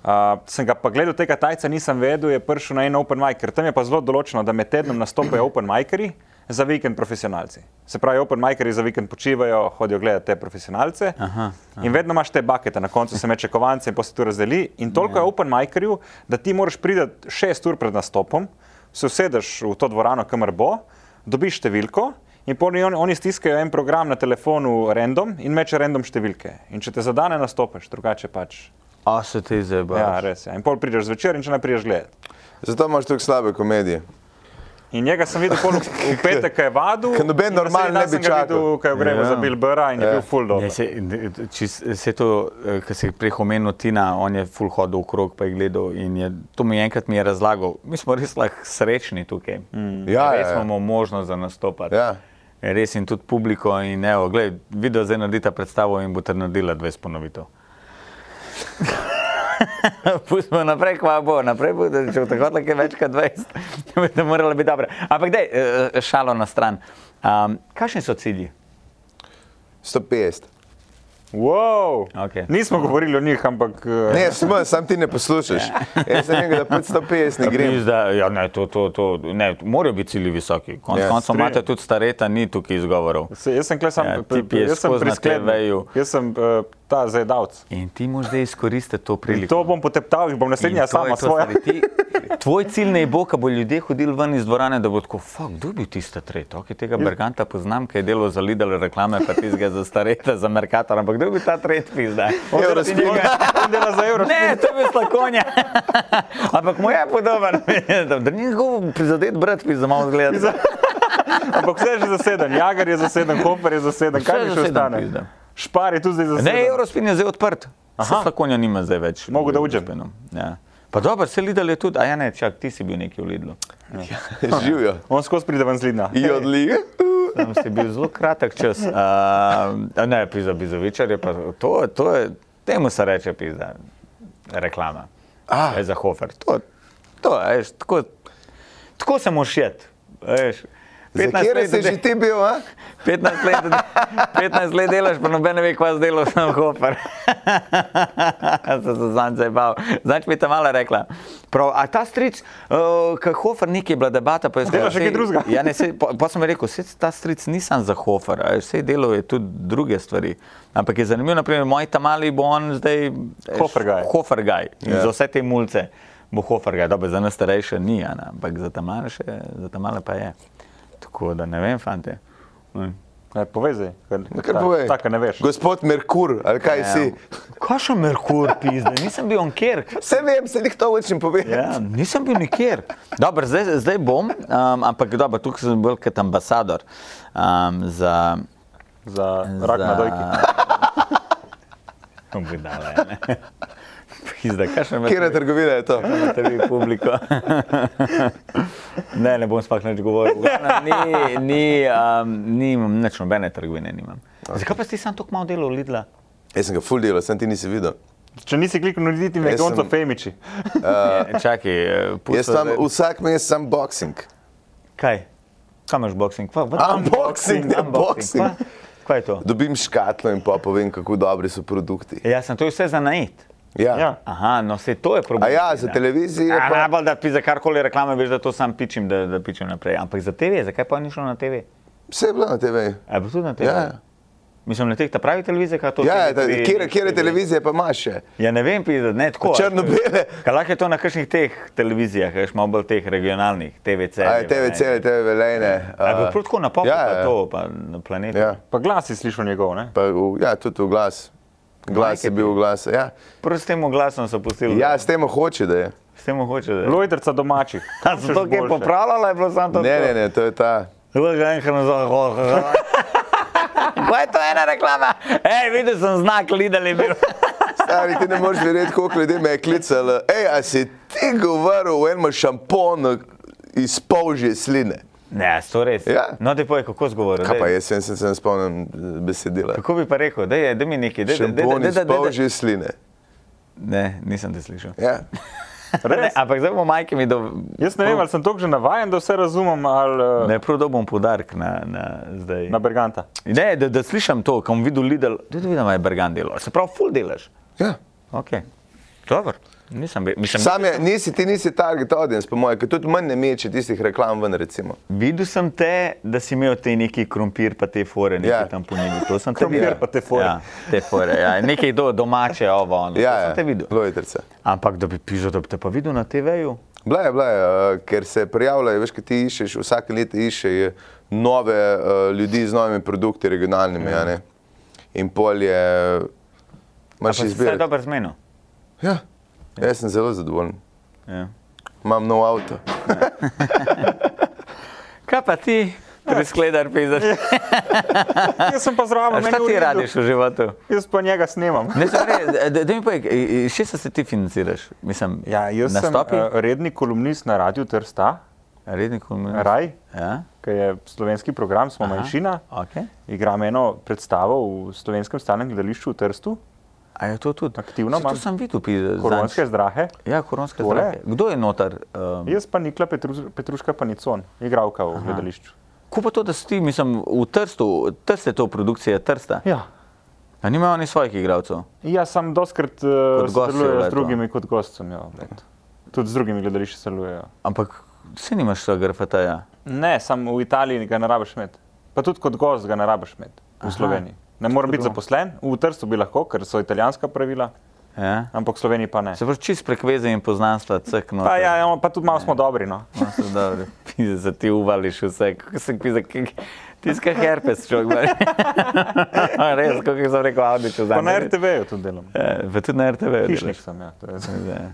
C: Uh, sem ga pa gledal, tega Tajca nisem vedel, je prišel na en open mic, ker tam je pa zelo določeno, da med tednom nastopajo open miceri, za vikend profesionalci. Se pravi, open miceri za vikend počivajo, hodijo gledati te profesionalce.
B: Aha,
C: In vedno imaš te bakete, na koncu se meče kovance in potem se to razdeli. In toliko
B: Ja.
C: je open micerjev, da ti moraš priti šest ur pred nastopom, se usedeš v to dvorano, kamor bo, dobiš številko. In pol oni, oni stiskajo en program na telefonu, random, in meče random številke. In če te zadane, nastopiš, drugače pač.
B: A se ti zdaj
C: Ja, res je. In pol prideš zvečer, in če ne prideš gledati.
D: Zato imaš tako slabe komedije.
C: In njega sem videl pol v v petek, kaj je vadil.
D: Ker noben
C: in naslednji
D: normalen
C: dan
D: ne bi
C: sem ga
D: čakal.
C: videl, Kaj je grevo
B: Ja.
C: za Bill Burra in je
D: Ja.
C: bil full dobro.
B: Ne, se, ne, če s- se to, eh, kar si prej omenil, Tina, on je full hodil okrog, pa je gledal in je, to mi je enkrat mi je razlagal. Mi smo res lahko srečni tukaj. Mm.
D: Ja,
B: res
D: ja, ja.
B: imamo možnost za nastopati.
D: Ja.
B: Res in tudi publiko in evo, gled, video zdaj naredita predstavo in bo ter naredila 20 ponovitev. Pustimo naprej, kva bo, naprej bo, da če bo tako lahko več kot 20, bi to moralo biti dobro. Ampak dej, eh, šalo na stran. Um, kakšni so cilji?
D: 150.
C: Wow.
B: Okej.
C: Nismo govorili o njih, ampak. eh,
D: Ne, smo, sam ti ne poslušaš. Jaz sem rekel, da 550 ne grem.
B: Pizda, ja, ne, to, to, to, ne, morajo biti cilji visoki. Konec
D: Ja,
B: yes, koncev
C: strinjam.
B: imate tudi stareta, ni tukaj izgovorov.
C: Se, jaz sem kle sam,
B: Ja,
C: ja,
B: tip je
C: jaz sem
B: skozi na TV-ju.
C: priskledal. Jaz sem uh, ta zajedavc.
B: In ti moraš zdaj izkoristiti to
C: In
B: priliko.
C: to bom poteptal in bom
B: In
C: naslednja
B: to je
C: sama
B: to,
C: svoja.
B: stari, ti- Tvoj cilj ne bo, da bo ljudje hodili ven iz dvorane, da bo tako, fuck, kdo je bil tisti tret? Okay, tega Berganta poznam, ki je delal za Lidl reklame, pa tistega za stareta, za Merkator, ampak kdo je bil ta tret, pizda?
C: On dela-
D: Eurospin.
C: on- on dela za evro.
B: Ne, to je bil slakonja. Ampak mu je podoben. Da ni njegov prizadet brat, pizda, malo zgleda.
C: Ampak vse je že zaseden. Jagar je zaseden, Hofer je zaseden.
B: Vse je
C: Kaj mi še
B: zaseden,
C: ostane?
B: pizda.
C: Špar je tu zdaj zaseden.
B: Ne, Eurospin je zdaj odprt. Aha, slakonja nima zdaj več.
C: Mogu da
B: v
C: uđem.
B: Eurospinu. Ja. Pa dobro, se Lidl je tudi, a ja ne, čak, ti si bil nekje v Lidlu. Ja,
D: Živijo.
C: On skozi pride ven z lidna.
D: I odliga.
B: Tam si bil zelo kratek čas. Uh, ne, pizda, bizovičar je pa to, to je, temu se reče pizda, reklama.
D: Ah.
B: Ej, Za hofer. To, to, eš, tako, tako se moraš jet. Eš,
D: Kjer si že ti bil, a?
B: 15 let, 15 let delaš, pa noben ne ve, kva si delal, sem hofer. Sem se zanj zabaval. Zanj mi je ta mala rekla. Prav, a ta stric, uh, kaj hofer, nekaj je bila debata, pa je
C: Dela še kaj drugega."
B: Ja, ne, sej, po, po sem rekel, vse ta stric nisem za hofer, a veš, sej delal je tudi druge stvari. Ampak je zanimivo, naprimer, moj ta mali bo on zdaj.
C: Hofergaj.
B: Hofergaj,
D: Ja.
B: yeah. za vse te mulce. Bo hofergaj, dobro, za nas starejše ni, a ne, ampak za ta male še, za ta male pa je. Tako da ne vem, fante. Ne.
C: Ne, povej zdaj. ker-
D: No, Kar
C: ta-
D: povej.
C: Taka ne veš.
D: Gospod Merkur, ali kaj si?
B: Kaj še Merkur pizde, nisem bil nikjer.
D: Vse vem, se nikdo več ne pove.
B: Ja, nisem bil nikjer. Dobro, zdaj, zdaj bom, um, ampak dobro, tukaj sem bolj kot ambasador um, za.
C: Za rak na dojki.
B: Bom bi dala, ja, ne. Pizda, kaj še
D: Kjer je
B: Merkur?
D: trgovina je to?
B: Tebi publiko. ne, ne bom sploh nič govoril. V glavnem, Ni, ni, um, nimam nič nobene trgovine. Nimam. Zakaj pa si ti sam tako malo delal, Lidla?
D: Jaz sem ga full delal, sem ti nisi videl.
C: Če nisi kliknil, niti ne
D: Jaz
C: konco
D: sem-
C: Femiči.
B: Uh, Čakaj, eh, pusti
D: Jaz tam
B: zdaj-
D: vsak mesec sam boxing.
B: Kaj? Kaj imaš boxing? Kva, what?
D: Unboxing, ne boxing.
B: Kva? Kaj je to?
D: Dobim škatlo in pa povem, kako dobri so produkti.
B: Ja, sem to je vse za naid.
D: Ja.
C: Ja.
B: Aha, no se to je
D: A
B: problem.
D: ja, za televizijo.
B: Ja,
D: pa-
B: najbolj, da ti za karkoli reklame veš, da to sam pičim, da, da pičim naprej. Ampak za TV, zakaj pa ni šlo na TV?
D: Vse je bilo na TV.
B: A je bilo tudi na TV?
D: Ja,
B: Mislim, na teh ta pravi televizija, kaj to
D: ja, ja ta-
B: TV3,
D: kjer, kjer je
B: TV3?
D: televizija, pa imaš še.
B: Ja, ne vem, pizda, ne tako.
D: Črno-bele.
B: Kaj lahko je to na kakšnih teh televizijah, veš, malo bolj teh regionalnih, TVC.
D: A je TV cele, TV velene.
B: A je bilo prav tako na popu,
D: Ja,
B: ja,
D: ja.
B: pa to, pa na planetu.
D: Ja,
C: Pa glas si slišal njegov, ne?
D: pa, v- ja tudi v glas. Glas je bil v glas. Ja.
B: Prav s tem glasom so pustili.
D: ja, s tem hoče, da je.
B: S tem hoče, da
C: Lojderca domačih.
B: A so to kaj popravljala, je bilo samo to?
D: Ne, ne, ne, to je ta.
B: Ljubi enkrat za hoho. Kaj je to ena reklama? Ej, videl sem znak, lidel je bil.
D: Stari, ti ne moreš verjeti, koliko ljudi me je klicalo. Ej, a si ti govoril o enem šamponu iz polžje sline?
B: Ne, to res.
D: Ja.
B: No, te poje, kako zgovori.
D: Kaj pa jaz, jaz sem se ne spomnim eh, besedila.
B: Kako bi pa rekel, da je, da mi nekaj, da
D: Šampon iz
B: je, da je.
D: polžje sline.
B: Ne, nisem te slišal.
D: Ja.
B: Ne,
C: Res?
B: ampak zdaj bomo majke mi do...
C: Jaz ne vem, ali sem toliko že navajen, da vse razumem, ali ne.
B: Ne, prav dobil bom podarek na, na zdaj.
C: na Berganta.
B: Ne, da, da slišim to, ko bom videl Lidl, da vidim, da je Bergan delal. Se pravi, full delaš.
D: Ja.
B: Ok, dobro. Nisem, ve- mislim,
D: Sam je, nisi, ti nisi target audience, po mojem, ker tudi manj ne meče tistih reklam ven, recimo.
B: Videl sem te, da si imel te neki krompir, pa te fore, nekaj
D: Ja.
B: yeah. tam ponudil. To sem te
C: Krompir
B: videl.
C: pa te fore.
B: Ja, te fore, ja. nekaj do, domače, ovo, ono.
D: Ja,
B: to
D: ja.
B: sem te videl.
D: Lojtrica.
B: Ampak da bi pižal, da bi te pa videl na TV-ju.
D: Bila je, bila je, eh, ker se prijavljajo, veš, kaj ti iščeš, vsake leto iščeš nove eh, ljudi z novimi produkti, regionalnimi. Ja. In pol je,
B: Pa
D: imaš
B: si se
D: izbiro.
B: dobro zmenil.
D: Ja. Jaz sem zelo zadovoljen.
B: Ja.
D: Imam nov avto.
B: Kaj pa ti, preskledar, pižaš?
C: Jaz sem pa zraven,
B: Šta
C: meni je v
B: ti
C: redu.
B: radiš Ja, v životu?
C: Jaz pa njega snemam.
B: Ne, sorry, da, da mi povej, eh, eh, še se ti financiraš? Mislim,
C: Ja, jaz
B: nastopi?
C: sem uh, redni kolumnist na radiju Trsta,
B: Redni kolumnist.
C: Raj,
B: Ja,
C: ki je slovenski program, smo Aha. manjšina.
B: ok.
C: Igram eno predstavo v slovenskem stalnem gledališču v Trstu,
B: A je to tudi?
C: Aktivno
B: Saj To
C: imam.
B: sem videl, pižaš.
C: koronske zdrahe.
B: Ja, koronske
C: Tole.
B: zdravje. Kdo je notar? Um,
C: Jaz pa Nikla Petru, Petruška Panicon, igralka v Aha. gledališču.
B: Ko pa to, da si ti, mislim, v Trstu, Trst je to produkcija Trsta.
C: Ja.
B: A nimajo oni svojih igralcev?
C: Jaz sem doskrat uh,
B: Kot gost je
C: sodelujem
B: vletel.
C: z drugimi kot gostom. Ja, vlet. Tudi z drugimi gledališči sodelujejo.
B: Ampak vsi nimaš svojega grafataja.
C: Ne, samo v Italiji ga ne rabiš imeti. Pa tudi kot gost ga ne rabiš imeti v Sloveniji. Ne morem biti zaposlen, v Trstu bi lahko, ker so italijanska pravila,
B: Ja?
C: ampak v Sloveniji pa ne.
B: Se vrči čist prek veze in poznanstva, no, cekno.
C: Pa, ja, ja, pa tudi malo smo dobri. No.
B: Pizde, za ti uvališ vse, kako se pizde, tiska herpes, človek. bari. Res, kako sem rekel, avdiču za
C: Pa na RTV-ju tudi delam.
B: Ja, tudi na RTV.
C: Hišnik sem, ja. to je-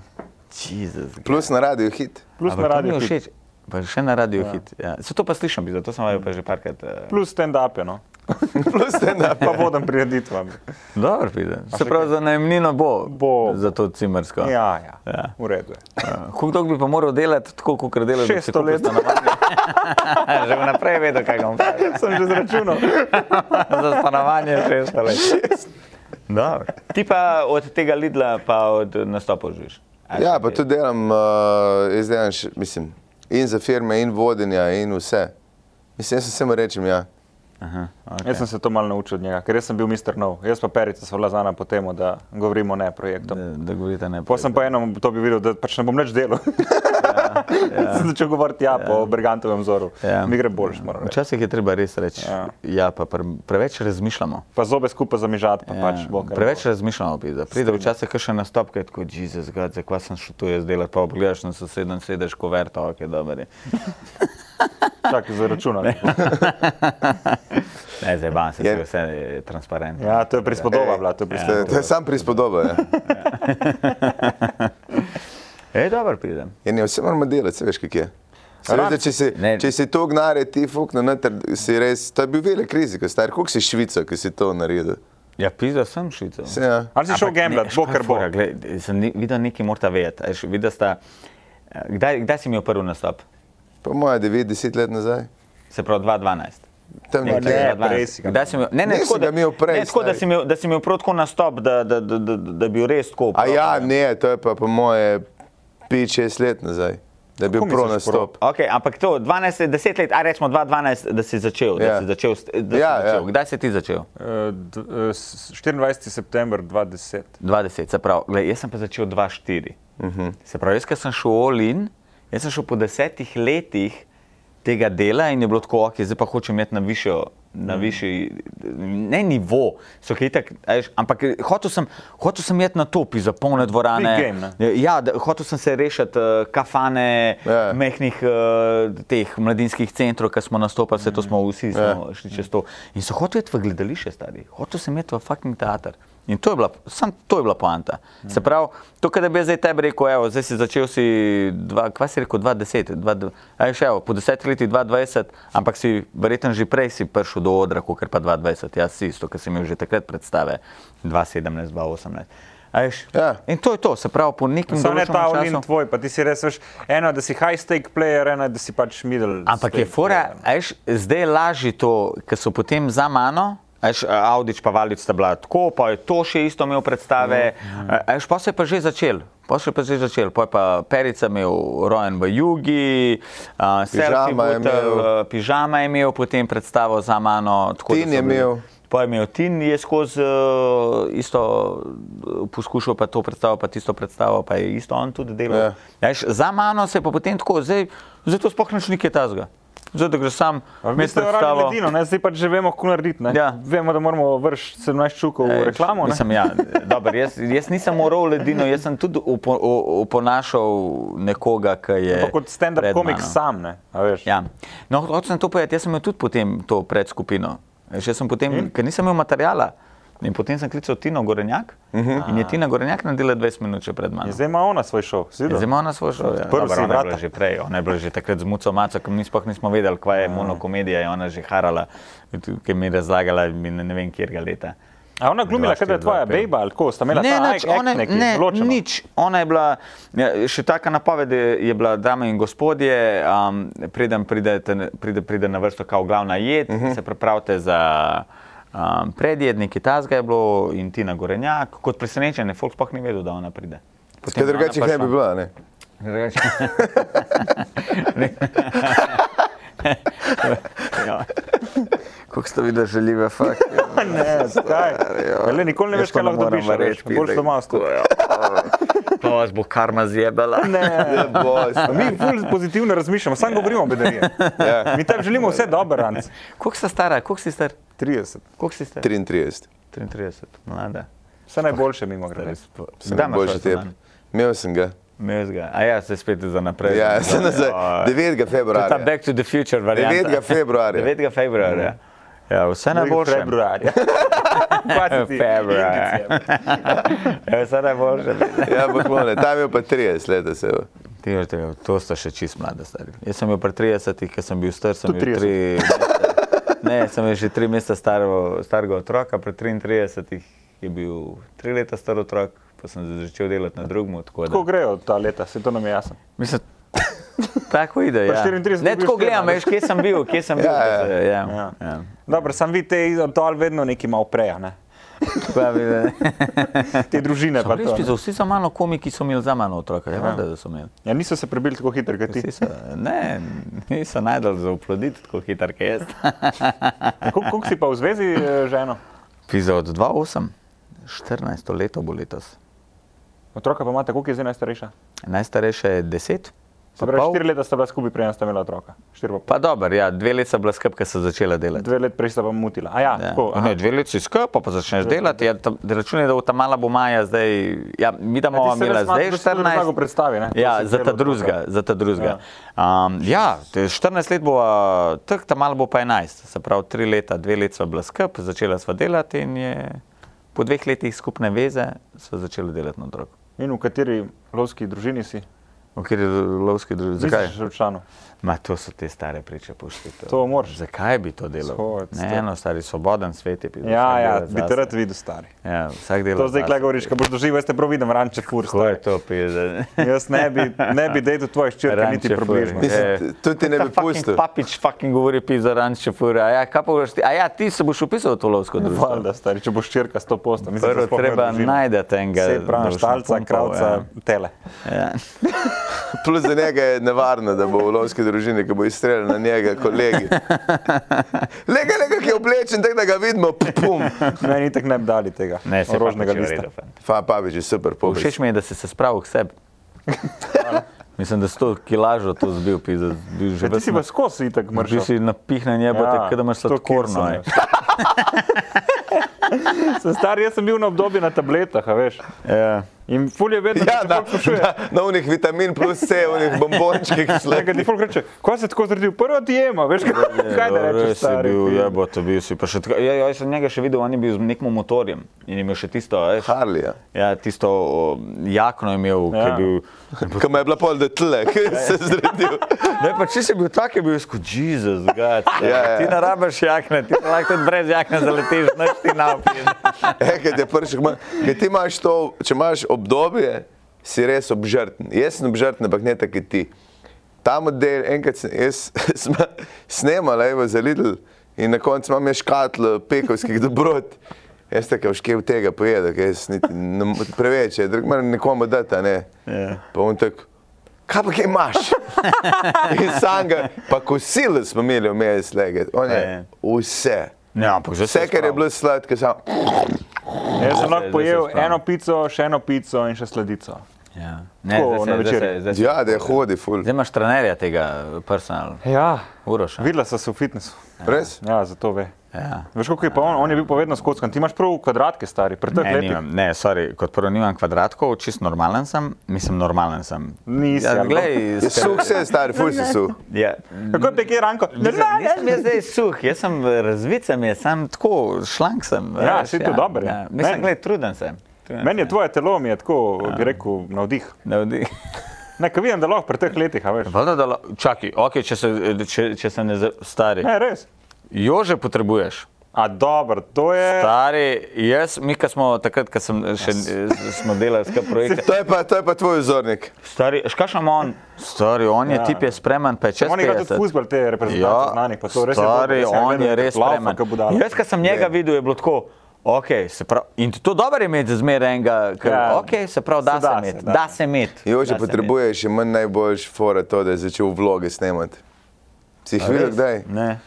B: Jezus.
D: Plus na radiju hit.
C: Plus na radiju. hit,
B: Všeč. Pa še na radiju ja. hit. Ja. Se to pa slišim, bi, zato sem vaju pa že parkrat. eh.
C: Plus stand-up, no.
D: Plus stand-up.
C: pa vodam prireditvam.
B: Dobro, pizde. Se pravi, za najemnino bo,
C: Bo.
B: za to cimersko.
C: Ja, ja,
B: Ja.
C: v redu je.
B: Kako dolgo bi pa moral delati, tako kot delaš?
C: 600 let.
B: Ja, Že vnaprej vedo, kaj ga bom pravil.
C: Sem že zračunal.
B: Za stanovanje 600 let. Dobro. Ti pa od tega Lidla, pa od nastopa živiš. A
D: Ja,
B: še
D: pa
B: ti?
D: tudi delam, uh, jaz delam še, mislim, in za firme, in vodenja, in vse. Mislim, jaz samo rečem, ja.
B: Aha, okay.
C: Jaz sem se to malo naučil od njega, ker jaz sem bil mister nov. Jaz pa perica sva bila znana po tem, da govorimo ne projektom.
B: Da, da govorite ne.
C: Pa sem pa eno to bi videl, da pač ne bom več delal. Ja, sem začel govoriti ja, ja. po Brigantovem vzoru. Ja. Mi gre boljš, moram reči.
B: Včasih je treba res reči, ja,
C: Ja.
B: ja pa pre, preveč razmišljamo.
C: Pa zobe skupaj zamižati, pa ja. pač bo.
B: Ja,
C: kar
B: preveč
C: bo.
B: razmišljamo, pizda. pride včasih kakšen nastop, ki je tako, Jezus, gad, za kva sem šel tu jaz delati, pa pogledaš na sosednjo in sedeš koverta, ok, dober je.
C: Čakaj, zaračunal.
B: Ne, zdaj ban se,
D: Je-
B: saj vse je transparentno.
C: Ja, to je prispodoba
D: Ej,
C: bila, to je
D: To je, to
C: prispodoba.
D: je sam prispodoba. Ja.
B: E, dobro pridem.
D: Ja, ne, vse moramo delati, se veš, kak je. Se
C: Rad-
D: Veš, da, če, si,
B: Ne.
D: če si to gnare, ti fukne noter, si res, to je bil velik riziko, star, koliko si švica, ki si to naredil.
B: Ja, pizda sem švical.
D: Se, ja.
C: Ali si šel
B: Ampak ne,
C: gamblat,
B: veš,
C: bo
B: kaj
C: kar
B: je
C: bo.
B: fora, glej, Sem ni- videl nekaj, morate vedeti. a veš, videl sta, eh, Kdaj, kdaj si imel prvi nastop?
D: Po mojem, 9-10 let nazaj.
B: Se pravi 2012.
D: Tam
B: Nekaj
D: nekje.
C: ne.
B: 2012.
C: prej si ga
B: Kdaj si imel- Ne, ne,
D: Nisem
B: tako,
D: ga
B: da,
D: imel prej,
B: ne, tako da
D: stari.
B: si imel, da si imel prav tako nastop, da, da, da, da, da bi bil res tako.
D: A ja, ne, to je pa po moje 5-6 let nazaj, da je bil
C: Kako
D: pro
C: misliš
D: nastop.
B: Okay, ampak to 12, 10 let, a rečemo 2012, da si začel. Da
D: Ja.
B: si začel, s- da
D: Ja,
B: si začel.
D: ja.
B: Kdaj si ti začel?
C: Eh, d- eh, s- 24. september 2010.
B: 20, se pravi, gled, jaz sem pa začel 2-4. Uh
C: Mhm.
B: -huh. Se pravi, jaz ko sem šel v Olin, jaz sem šel po desetih letih tega dela in je bilo tako, ok, zdaj pa hočem imeti na višjo. Na
C: Mhm.
B: višji, ne nivo, so kaj tak, a veš, ampak eh, hotel sem, hotel sem jeti na topi za polne dvorane.
C: Big game,
B: ja, da, hotel sem se rešiti uh, kafane,
D: Ja.
B: yeah. mehkih uh, teh mladinskih centrov, ki smo nastopali, vse to smo vsi smo šli čez to. In so hoteli iti v gledališče, stari, hotel sem iti v fucking teater. In to je bila, sam to je bila poanta. Se pravi, to, kar bi jaz zdaj tebi rekel, evo, zdaj si začel si, dva, kva si rekel, 2010, aj še evo, po desetih letih 2020, ampak si verjetno že prej si prišel do odra, kot pa 2020, jaz si isto, ker sem imel že takrat predstave 2017, 2018. A veš,
D: Ja.
B: In to je to, se pravi, po nekem
C: Samo ne
B: določenem
C: ta olin
B: času.
C: tvoj, pa ti si res, veš, eno je, da si high stake player, eno je, da si pač middle.
B: Ampak
C: stake
B: je fora,
C: player, no.
B: a veš, zdaj je lažje to, ker so potem za mano. Eš, Audič pa Valič sta bila tako, pa je to še isto imel predstave.
D: Mhm.
B: Eš, pa se je pa že začel, pa se je pa že začel. Pa je pa Perica imel rojen v Jugi, uh,
D: Pižama je imel.
B: eh, pižama je imel, potem predstavo za mano. tako da
D: Tin
B: so
D: je
B: bili-
D: imel.
B: Pa je imel Tin, je skozi uh, isto uh, poskušal pa to predstavo, pa tisto predstavo, pa je isto on tudi delal.
D: Ja.
B: Ja. Ja, veš, za mano se je pa potem tako, zdaj, zdaj to sploh nič nekaj tazga. Zdaj, da greš sam,
C: Mi
B: vmes
C: smo ravno
B: predstavo.
C: edino, ne? zdaj pač že vemo, kako narediti. ne.
B: Ja.
C: Vemo, da moramo vršiti 17 čukov v reklamo. ne.
B: Mislim, ja, dober, jaz, jaz nisem moral v ledino, jaz sem tudi upo, u, uponašal nekoga, ki je.
C: Pa kot stand-up
B: pred
C: komik
B: mano.
C: sam, ne? a veš.
B: Ja. No, hočem to povedati, jaz sem imel tudi potem to predskupino. Še sem
C: Hm?
B: potem, ker nisem imel materijala. In potem sem klical Tino Gorenjak uh
C: Mhm.
B: -huh. in je Tina Gorenjak naredila 20 minut še pred mano.
C: In Zdaj ima ona svoj šov.
B: Ja, Zdaj
C: Zdaj
B: ima ona svoj šov. Ja.
C: Odprl si
B: ona je bila
C: vrata.
B: že prej, ona je bila že takrat z muco maco, ker mi sploh nismo vedeli, kva je monokomedija, je ona že harala, ki mi je razlagala, mi ne ne vem, kjerga leta.
C: A ona glumila, kaj
B: Dva,
C: je
B: štiri,
C: tvoja
B: dva, pet.
C: bejba ali kako, sta imela
B: ja. Ne,
C: ta
B: nič,
C: act- act
B: ona,
C: neki,
B: ne,
C: določeno?
B: nič. Ona je bila, ja, še taka napoved je je bila, dame in gospodje, um, preden pride, pride, pride na vrsto kao glavna jed,
C: Mhm.
B: uh -huh. se pripravite za um, predjed, nekaj tazga je bilo in Tina Gorenjak, kot presenečenje, folk sploh ni vedel, da ona pride. Potem
D: Kaj
B: je ona
D: drugače jih ne
B: prišla.
D: bi bilo, ne?
B: Drugače. Ne. Ja. Kako ste videli žaljive fakte?
C: Ne, zakaj? Le, nikoli ne veš, kaj lahko dobiš, a veš, boš doma ostal.
B: Pa vas bo karma zjebala.
C: Ne.
D: Ja, boj,
C: Mi ful pozitivno razmišljamo, samo govorimo o bedariji.
D: ja,
C: Mi tam želimo vse dobro, ranc.
B: Koliko sta stara, koliko si star?
C: 30.
B: Koliko si star?
D: 33.
B: 33, mlada.
C: Vse najboljše mimo grede.
D: Sem
B: Daj,
D: najboljši
B: imaš
D: tep.
B: avtoman?
D: Imel sem ga.
B: Imel si ga. A ja, se spet za naprej.
D: Ja, sem nazaj.
B: Ja.
D: 9.
B: To je ta
D: februarja.
B: Back to the Future varianta.
D: 9. februarja.
B: 9. februarja. Ja, vse najboljše.
C: Februarja.
B: Februarja. Ja, vse najboljše.
D: Ja, ampak mone, tam je pa 30 let, da se je.
B: Ti veš, da je- to sta še čist mlada stari. Jaz sem bil pri 30, ker sem bil star, sem
C: Tudi
B: bil
C: 30.
B: tri. Ne, sem bil že tri meseca starega, starega otroka, pri 33 je bil tri leta star otrok, pa sem začel delati na drugem. tako da-
C: Tako grejo ta leta, se to nam je jasno.
B: Mislim, tako ide.
C: Pa
B: Ja.
C: 34
B: Ne,
C: dobiš
B: tako gledam,
C: tedna,
B: veš, kje sem bil, kje sem bil.
D: Ja, ja.
B: da se- ja,
C: Ja.
B: ja. Ja.
C: Dobro, sam vi te Antoal vedno nekaj malo preja, ne?
B: Pravi, da-
C: Te družine Ja,
B: So
C: pa
B: res
C: to. ne.
B: pisal, Vsi so malo komiki, so imeli za mano otroka, ja, valjda, da so imeli.
C: Ja, niso se prebili tako hitro, kot ti.
B: Vsi so, ne, niso najdel za uploditi tako hitro, kot jaz.
C: Kako si pa v zvezi eh, z ženo?
B: Pisal od 2,8, 14 leto bo letos.
C: Otroka pa imate, koliko je zdaj najstarejša?
B: Najstarejša je 10.
C: Se
B: Pa,
C: pravi,
B: pol.
C: štiri leta sta bila skupaj, preden sta imela otroka. Štiri pa pol.
B: pa dober, ja, dve leti sta bila skupaj, ker sta začela delati.
C: Dve leti prej sta pa mutila. A ja,
B: Ja.
C: tako.
B: Ne, dve leti si skupaj, pa začneš delati. Ja, ta, da računaj, da bo ta mala bo maja zdaj. Ja, mi da bomo imela zdaj 14.
C: Predstavi, ne?
B: Ja,
C: To si
B: za ta
C: delal
B: drugega.
C: otroka.
B: Za ta drugega. Ja. Um, ja, te 14 let bo, a, tak ta malo bo pa 11, se pravi 3 leta, 2 leti sva bila skupaj, začela sva delati in je po dveh letih skupne veze sva začela delati na otroku.
C: In v kateri lovski družini si?
B: V kateri lovski družini? Zakaj?
C: Zakaj? Že v članu.
B: Ma, to so te stare priče, pušti.
C: To moraš.
B: Zakaj bi to delal?
C: Shod,
B: Ne,
C: stari.
B: eno stari svoboden svet je bil.
C: Ja, ja, bi te rad videl, stari.
B: Ja, vsak delo.
C: To zdaj kle govoriš, ko boš doživel, jaz te prav vidim, ranče fur.
B: Ko je
C: stari.
B: to pizda?
C: Jaz ne bi, ne bi dejal tvojih ščirk, niti E.
B: Ranče fur.
C: približno.
B: Ja.
D: Mislim,
B: Eh.
D: t- tudi ti ne bi pustil.
B: Papič fucking govori pizda ranče fura. A ja, kaj pa boš ti? A ja, ti se boš upisal v to lovsko družbo.
C: Hvala, stari, če boš ščirka 100%. Mislim,
B: Prvo treba najti enega.
C: Se pravi,
B: družno
C: štalca,
B: pumpal,
C: kravca, tele.
B: Ja.
D: Plus za njega je nevarno, da bo v lovski družini, ki bo izstrelil na njega kolegi. Lega, lega, ki je oblečen, tako da ga vidimo, pu, pum.
C: Ne, ni tako ne bi dali tega.
B: Ne, se
C: rožnega
B: pač je v
C: lista.
B: redu, fant.
D: Fa, pavič je super, pobič.
B: Všeč mi je, da si se spravil k sebi. Mislim, da si to kilažo to zbil, pizda. Bil že
C: Ja, ti
B: ves
C: si pa skozi itak
B: Bil
C: mršil.
B: si napihnen
C: Ja,
B: jebote, ja, da imaš
C: to
B: sladkorno.
C: Kilsona.
B: ej.
C: Sem star, jaz sem bil na obdobju na tabletah, a veš.
B: Ja.
C: In ful je vedno,
D: Ja,
C: da
D: na,
C: te sprašuje.
D: na, na unih vitamin plus C, unih bombončkih
C: Nekaj ti
D: sledi.
C: ful reče, ko si tako zredil, prva ti jema, veš, kaj, kaj da
B: Ja,
C: rečeš,
B: res je
C: stari.
B: bil, jebote, bil si pa še tako. Ja, ja, jaz sem njega še videl, on je bil z nekim motorjem in je imel še tisto, veš,
D: Harlija.
B: ja, tisto o, jakno je imel, ja. ki
C: Ja.
B: je bil.
D: Ko me je bila pol do tle, ki se zredil.
B: Ne, pa če si bil tak, je bil skod, Jezus, gad.
D: Ja, ja.
B: Ti ne rabiš jakne, ti lahko tudi brez jakne zaletiš, noč ti napiš.
D: E, kad je pršek, ma- kad ti imaš to, če imaš obdobje, si res obžrten. Jaz sem obžrten, ampak ne tako kot ti. Ta model, enkrat sem jaz sma- snemala, evo za Lidl in na koncu imam jaz škatlo pekovskih dobrot. Jaz tako, "Už kje v tega pojedel, ker jaz niti ne mo- preveč je, drug moram nekomu dati, a ne.
B: Ja.
D: Pa on tako, kaj pa kaj imaš? in sam ga, pa kosil smo imeli vmes, lege, on je vse.
B: Ne, ampak že
D: Vse, kar je bilo sladko, samo.
C: Jaz sem lahko
B: zdaj se
C: pojel
B: spravim.
C: eno pico, še eno pico in še sladico.
B: Ja. Ne,
C: Tako,
B: zdaj se,
C: na
B: zdaj se,
C: večerji.
B: zdaj se.
D: Ja, da je hodi, ful.
B: Zdaj imaš trenerja tega, personal,
C: Ja,
B: Uroša.
C: videla sem se v fitnesu.
D: Res?
C: Ja, zato ve.
B: Ja.
C: Veš, koliko je pa on, on je bil pa vedno skockan. Ti imaš prav kvadratke, stari, pri teh
B: Ne,
C: letih.
B: nimam, ne, sorry, kot prvo nimam kvadratkov, čist normalen sem, mislim, normalen sem.
C: Nisi,
B: ja,
C: ali
B: glej,
D: Je
B: s-
D: suh se, star, ful si suh.
B: ja.
C: Kako te kje ranko? Ne, ne,
B: Mislim,
C: ne.
B: Nisem jaz zdaj suh, jaz sem razvit, sem jaz sem tako, šlank sem.
C: Ja,
B: veš,
C: saj to dobro je.
B: Ja.
C: Meni-
B: Mislim, glej, truden sem. Truden
C: Meni je
B: sem.
C: tvoje telo, mi je tako,
B: Ja.
C: bi rekel, navdih.
B: Navdi-
C: Ne, ker vidim, da lahko pri teh letih, a veš.
B: Valjda, da la- Čakaj, okay, če, se, če, če se ne za- stari.
C: Ne, res.
B: Jože potrebuješ.
C: A dobro, to je.
B: Stari, jaz, mi, ki smo takrat, ko sem še yes. smo delali skupaj projekte,
D: To je pa, to je pa tvoj vzornik.
B: stari, škašam on, stari, on je
C: Ja.
B: ja. tip je spreman, pa je čez
C: On igra tudi
B: 50.
C: fuzbol, te reprezentante znanih, pa to res
B: Ja, stari,
C: je dobro. Jaz ga
B: on
C: gledam,
B: je
C: da
B: res
C: plava,
B: spreman.
C: ke budala.
B: Jaz, ko sem njega videl, je bilo tako, ok, se pravi, in to dobro je imeti za zmeraj enega, ker,
C: Ja.
B: ja. ok, se pravi, da
C: Se
B: se,
C: da
B: da
C: se,
B: se imeti,
C: da.
B: da, da se imeti.
D: Jože
B: da se
D: potrebuje še manj najboljš fora to, da je začel vloge snemati. Si jih videl
B: imeti.
D: kdaj?
B: Ne.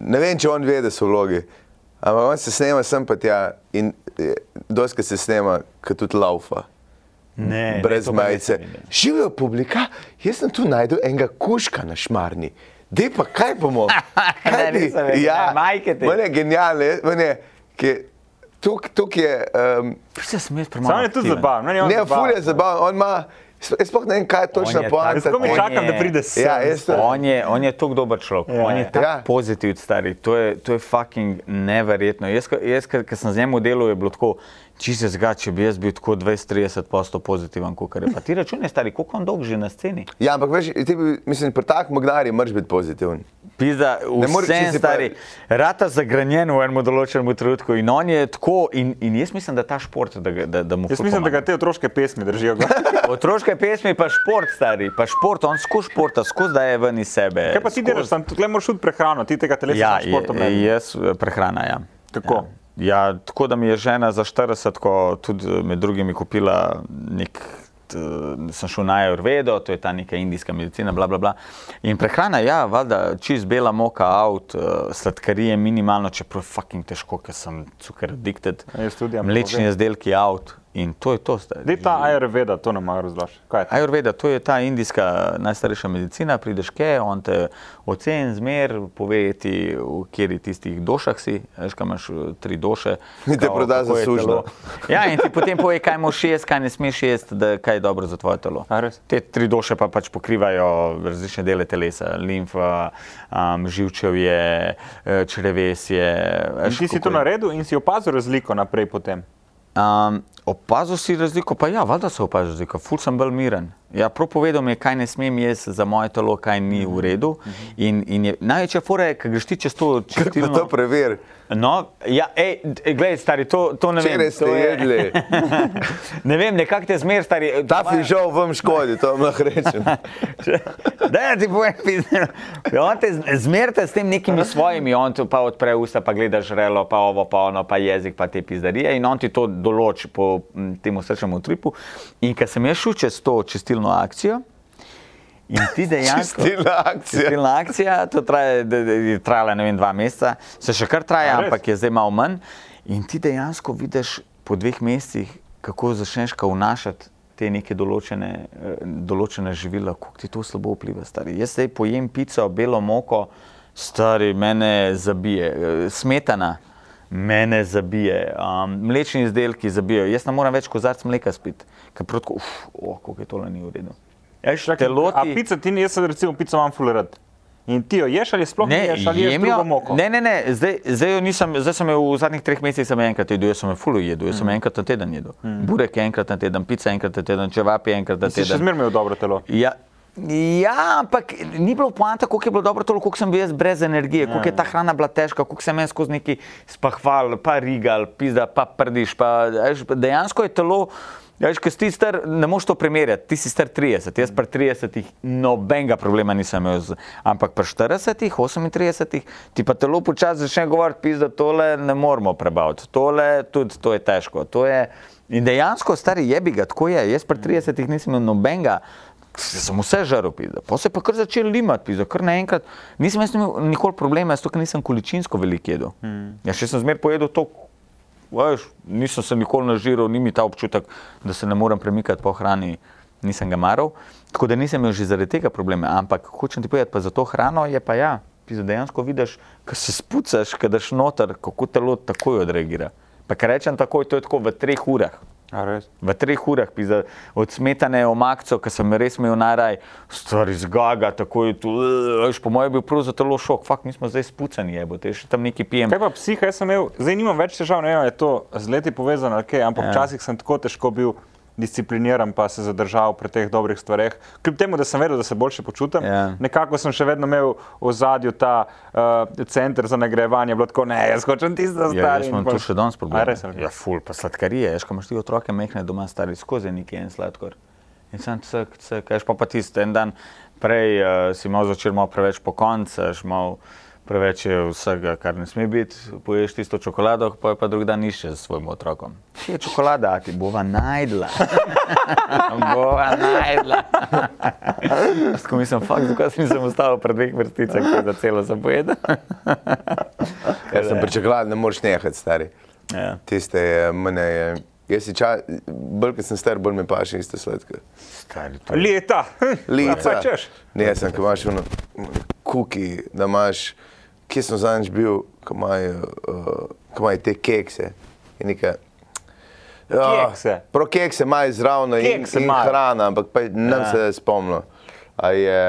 D: Ne vem, če on ve, da so vlogi, ampak on se snema sem pa tja in doska se snema, kot tudi laufa.
B: E,
E: Ne, ne,
D: brez
E: to pa ne
D: majice.
E: sem videl.
D: Živijo publika, jaz sem tu najdel enega kuška na šmarni. Dej pa kaj bomo?
E: Ne, nisem vedel, ne, majke te.
D: mene je genialne, mene, ki tuk, tuk je, um,
B: Vse sem jaz premalo.
C: Sam je tudi
B: aktiven.
C: zabavno, meni je on
D: ne,
C: zabaven.
D: fulje zabaven, on ima, sp- jaz sploh ne vem, kaj je točna
B: On je tak-
D: poanta.
C: Tako mi
B: On
C: čakam,
B: je-
C: da pride sem.
D: Ja, jaz sem.
B: On je, on je tako dober človek,
C: Ja.
B: ja. on je tako
D: Ja.
B: ja. pozitiven, stari. To je, to je fucking neverjetno. Jaz, ko- jaz ker sem z njim delal, je bilo tako, če se zga, če bi jaz bil tako 20-30% pozitiven, kot je. Pa ti računaj, stari, koliko on dolg že na sceni.
D: Ja, ampak veš, ti bi, mislim, pri tak magnari moraš biti pozitiven.
B: Pizda,
D: more- če
B: vse
D: si pa-
B: stari, rata zagranjen v enem določenem trenutku in on je tako, in, in jaz mislim, da ta šport, da, ga- da, da mu
C: Jaz
B: ful
C: mislim, da ga
B: pomaga.
C: te otroške pesmi držijo. gor.
B: Otroške pesmi, pa šport, stari, pa šport, on skozi športa, skozi da je ven iz sebe.
C: Kaj pa ti
B: skozi-
C: delaš, tam tukaj moraš tudi prehrano, ti tega telesa
B: Ja,
C: s športom ne
B: je-
C: bi.
B: jaz eh, prehrana. Ja.
C: Kako?
B: Ja. Ja, tako da mi je žena za 40, ko tudi eh, med drugim kupila nek. t- Sem šel na Ayurvedo, to je ta neka indijska medicina, bla, bla, bla. In prehrana, ja, valjda, čist bela moka, avt, eh, sladkarije minimalno, čeprav je fucking težko, ker sem cukor addicted.
C: Ja, jaz tudi, ampak
B: Mlečni
C: povem.
B: izdelki, avt in to je to. zdaj.
C: Dej ta Ayurveda, to nam malo razloži. Kaj je to?
B: Ayurveda, to je ta indijska najstarejša medicina, prideš ke, on te oceni, zmer, pove ti, v kateri tistih došah si, veš, kaj imaš eh, tri doše.
D: In te
B: kao,
D: proda
B: kako
D: za
B: je
D: sužnjo.
B: telo. Ja, in ti potem pove, kaj moš jesti, kaj ne smeš jesti, da, kaj je dobro za tvoje telo.
C: A res?
B: Te tri doše pa pač pokrivajo različne dele telesa, limfa, um, živčevje, eh, črevesje.
C: In ti si to naredil in si opazil razliko naprej potem.
B: Um, opazil si razliko, pa ja, valjda se opazi razliko, ful sem bolj miren. Ja, prav povedal mi je, kaj ne smem jesti za moje telo, kaj ni v redu. In, in je, največja fora je, ker greš ti čez to
D: Mhm, Kako pa to
B: čistilno.
D: preveri?
B: No, ja, ej, gled, stari, to, to ne
D: Včeraj
B: vem.
D: ste
B: to je-
D: jedli,
B: ne vem, nekako te zmer, stari.
D: ta
B: tvoja-
D: fižol vam škodi, to vam lahko rečem.
B: Da, ti povem, pizda. Ja, on te z- zmerite s tem nekimi svojimi, on ti pa odpre usta, pa gledaš relo, pa ovo, pa ono, pa jezik, pa te pizdarije in on ti to določi po m, tem srčnemu tripu. In ker sem jaz šel čez to čistilno akcijo, in ti dejansko.
D: Čistilna akcija.
B: Čistilna akcija, to traje, da- da- je trajala ne vem, dva meseca, se še kar traja,
C: A res?
B: ampak je zdaj malo manj. In ti dejansko vidiš po dveh mesecih, kako začneš ka vnašati te neke določene, eh, določene živila, kako ti to slabo vpliva. Stari. Jaz zdaj pojem pico, belo moko, stari mene zabije, Eh, smetana. Mene zabije, um, mlečni izdelki zabijajo. Jaz ne morem več kozarc mleka spiti, ker protko, uf, oh, kako je tole ni v redu. Ja, telo
C: A
B: ti...
C: pica ti ni, jaz sem recimo pico imam fulerat. In ti jo ješ ali sploh ne ješ, ali ješ
B: jem jo.
C: drugo moko.
B: Ne, ne, ne. Zdaj, zdaj, jo nisem, zdaj sem jo v zadnjih treh mesecih samo enkrat jedel, jaz sem jo fulu jedel, jaz sem mm. enkrat na teden jedel. Mm. Burek enkrat na teden, pica enkrat na teden, čevapi enkrat na
C: Si še
B: teden.
C: zmerno imel dobro telo.
B: Ja, ja, ampak ni bilo poanta, koliko je bilo dobro, toliko, koliko sem bil jaz brez energije, koliko je ta hrana bila težka, koliko sem jaz skozi neki spahval, pa rigal, pizda, pa prdiš. Pa, a veš, dejansko je telo. a Veš, ko si ti star, ne moš to primerjati, ti si star 30, jaz pri 30 nobenega problema nisem imel, z, ampak pri 40, 38, ti pa telo počasi začne govoriti, pizda, tole ne moramo prebaviti, tole tudi to je težko. To je, in dejansko, stari jebi ga, tako je, jaz pri 30 nisem imel nobenega Jaz sem vse žaral, pizda. Pa se je pa kar začel limati, pizda. kar naenkrat. Nisem jaz imel nikoli problema, jaz tukaj nisem količinsko veliko jedel. Mm. Ja, še sem zmer pojedel to, veš, nisem se nikoli nažiral, ni mi ta občutek, da se ne morem premikati po hrani, nisem ga maral. Tako da nisem imel že zaradi tega problema, ampak hočem ti povedati, pa za to hrano je pa ja, pizda, dejansko vidiš, ko se spucaš, ko daš noter, kako telo takoj odreagira. Pa ker rečem takoj, to je tako v treh urah.
C: A res?
B: V treh urah, pizda, od smetane omakco, ki sem jo res imel naraj, stvar izgaga, tako je tu, eh, veš, po mojem je bil prav za telo šok, fakt, mi smo zdaj spucani, je, bo te še tam neki pijem.
C: Kaj pa psiha, jaz sem imel, zdaj nimam več težav, ne vem, a je to z leti povezano ali kaj, ampak ja. včasih sem tako težko bil discipliniran, pa se zadržal pri teh dobrih stvareh. Kljub temu, da sem vedel, da se boljše počutim,
B: Ja.
C: nekako sem še vedno imel v zadju ta uh, center za nagrajevanje, bilo tako, ne, jaz hočem tisto
B: Ja,
C: zdaj.
B: jaz imam tu še danes problem.
C: A res, ali?
B: ja, ful, pa sladkarije, veš, ko imaš ti otroke mehne doma, stari skozi neki en sladkor. In sem cek, cek, veš, pa, pa tisti en dan prej uh, si malo začel malo preveč po koncu, veš, malo preveč je vsega, kar ne sme biti, poješ tisto čokolado, pa je pa drug dan iščeš s svojim otrokom. Kje je čokolada, a ti bova najdla. bova najdla. Jaz ko mislim, fakt, tukaj sem se ustavil pred dveh vrsticah, ker za celo sem pojedel.
D: Jaz sem pričakoval, da ne moreš nehati, stari.
B: Ja.
D: Tiste je, mene je. Jaz si čas, bolj kot sem star, bolj mi paše iste sladke.
B: Stari, to je-
C: Leta.
D: Lica.
C: Pa češ.
D: Ne, jaz sem, ko imaš ono, kuki, da imaš, kje sem zadnjič bil, ko imajo, uh, ko imajo te kekse. Je Neka, Ja,
C: Kekse.
D: Prav kekse imajo zraven in,
C: Kekse
D: in
C: imajo.
D: hrana, ampak pa nam ja. se spomnilo. A je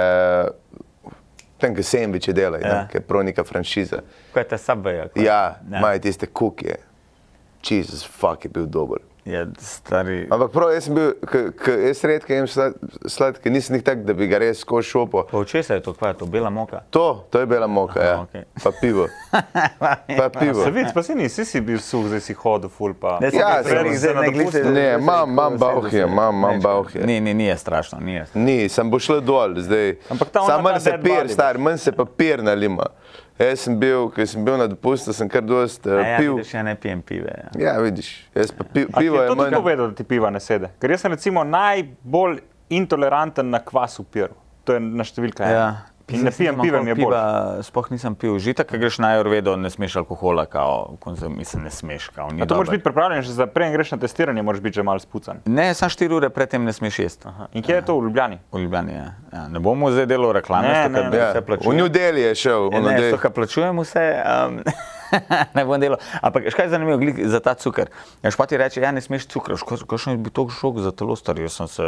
D: tam, ki sendviče delajo,
B: Ja.
D: ja. ki je prav neka franšiza.
B: Kaj je ta subway?
D: Ja, imajo tiste kukije. Jezus, fuck je bil dober.
B: Ja, stari.
D: Ampak prav, jaz sem bil, k, k, jaz redke jem slad- sladke, nisem jih tak, da bi ga res skoš šopo.
B: Pa od česa je to, kaj je to, bela moka?
D: To, to je bila moka, Aha, ja.
B: okej.
D: okay. pa pivo. pa pivo.
C: Savic, pa si nisi si bil suh, zdaj si hodil ful pa.
B: Ne,
D: Ja,
B: sem
D: sem-
B: zdaj zdaj ne
C: nadopustil.
B: glede.
D: Ne, imam- imam bauhije, imam- imam bauhije.
B: Ni, ni, ni je strašno, ni je.
D: Ni, sem bo šel dol, zdaj.
C: Ampak ta ona
D: Samo
C: ta
D: manj se
C: dead
D: pir,
C: body.
D: star, manj se papir nalima. Jaz sem bil, ko sem bil na dopustu, sem kar dost uh,
B: Ja,
D: pil.
B: še ne pijem pive. Ja.
D: Ja, vidiš, jaz pa pi,
C: A ti
D: pivo
C: je
D: je
C: to
D: manj.
C: tudi povedal, da ti piva ne sede. Ker jaz sem recimo najbolj intoleranten na kvas v piru. To je na številka.
B: Ja.
C: ena. In Ja. ne pijem piva, mi je bolj. Ja,
B: Sploh nisem pil žita, ker greš na Jorvedo, ne smeš alkohola, kao, konzum, mislim, ne smeš. Kao, ni
C: A to moraš
B: dobro.
C: biti pripravljen, že za prej greš na testiranje, moraš biti že malo spucan.
B: Ne, samo 4 ure predtem ne smeš jesti.
C: In kje je to v Ljubljani?
B: V Ljubljani je. Ja, ne bomo zdaj delali reklame,
C: Ne,
B: zato,
C: ne,
B: ker
C: ne.
D: Ja. V
B: vse
D: New
B: plačujem.
D: Delhi je šel,
C: Ja,
D: ono,
B: Ja, Ne,
D: dej.
B: zato, ker plačujem vse, um, ne bom delal. Ampak škaj je zanimivo glih za ta cukor. Špati reče, ja, ne smeš cukra, kakšen bi to šok za telo star. Jaz sem se,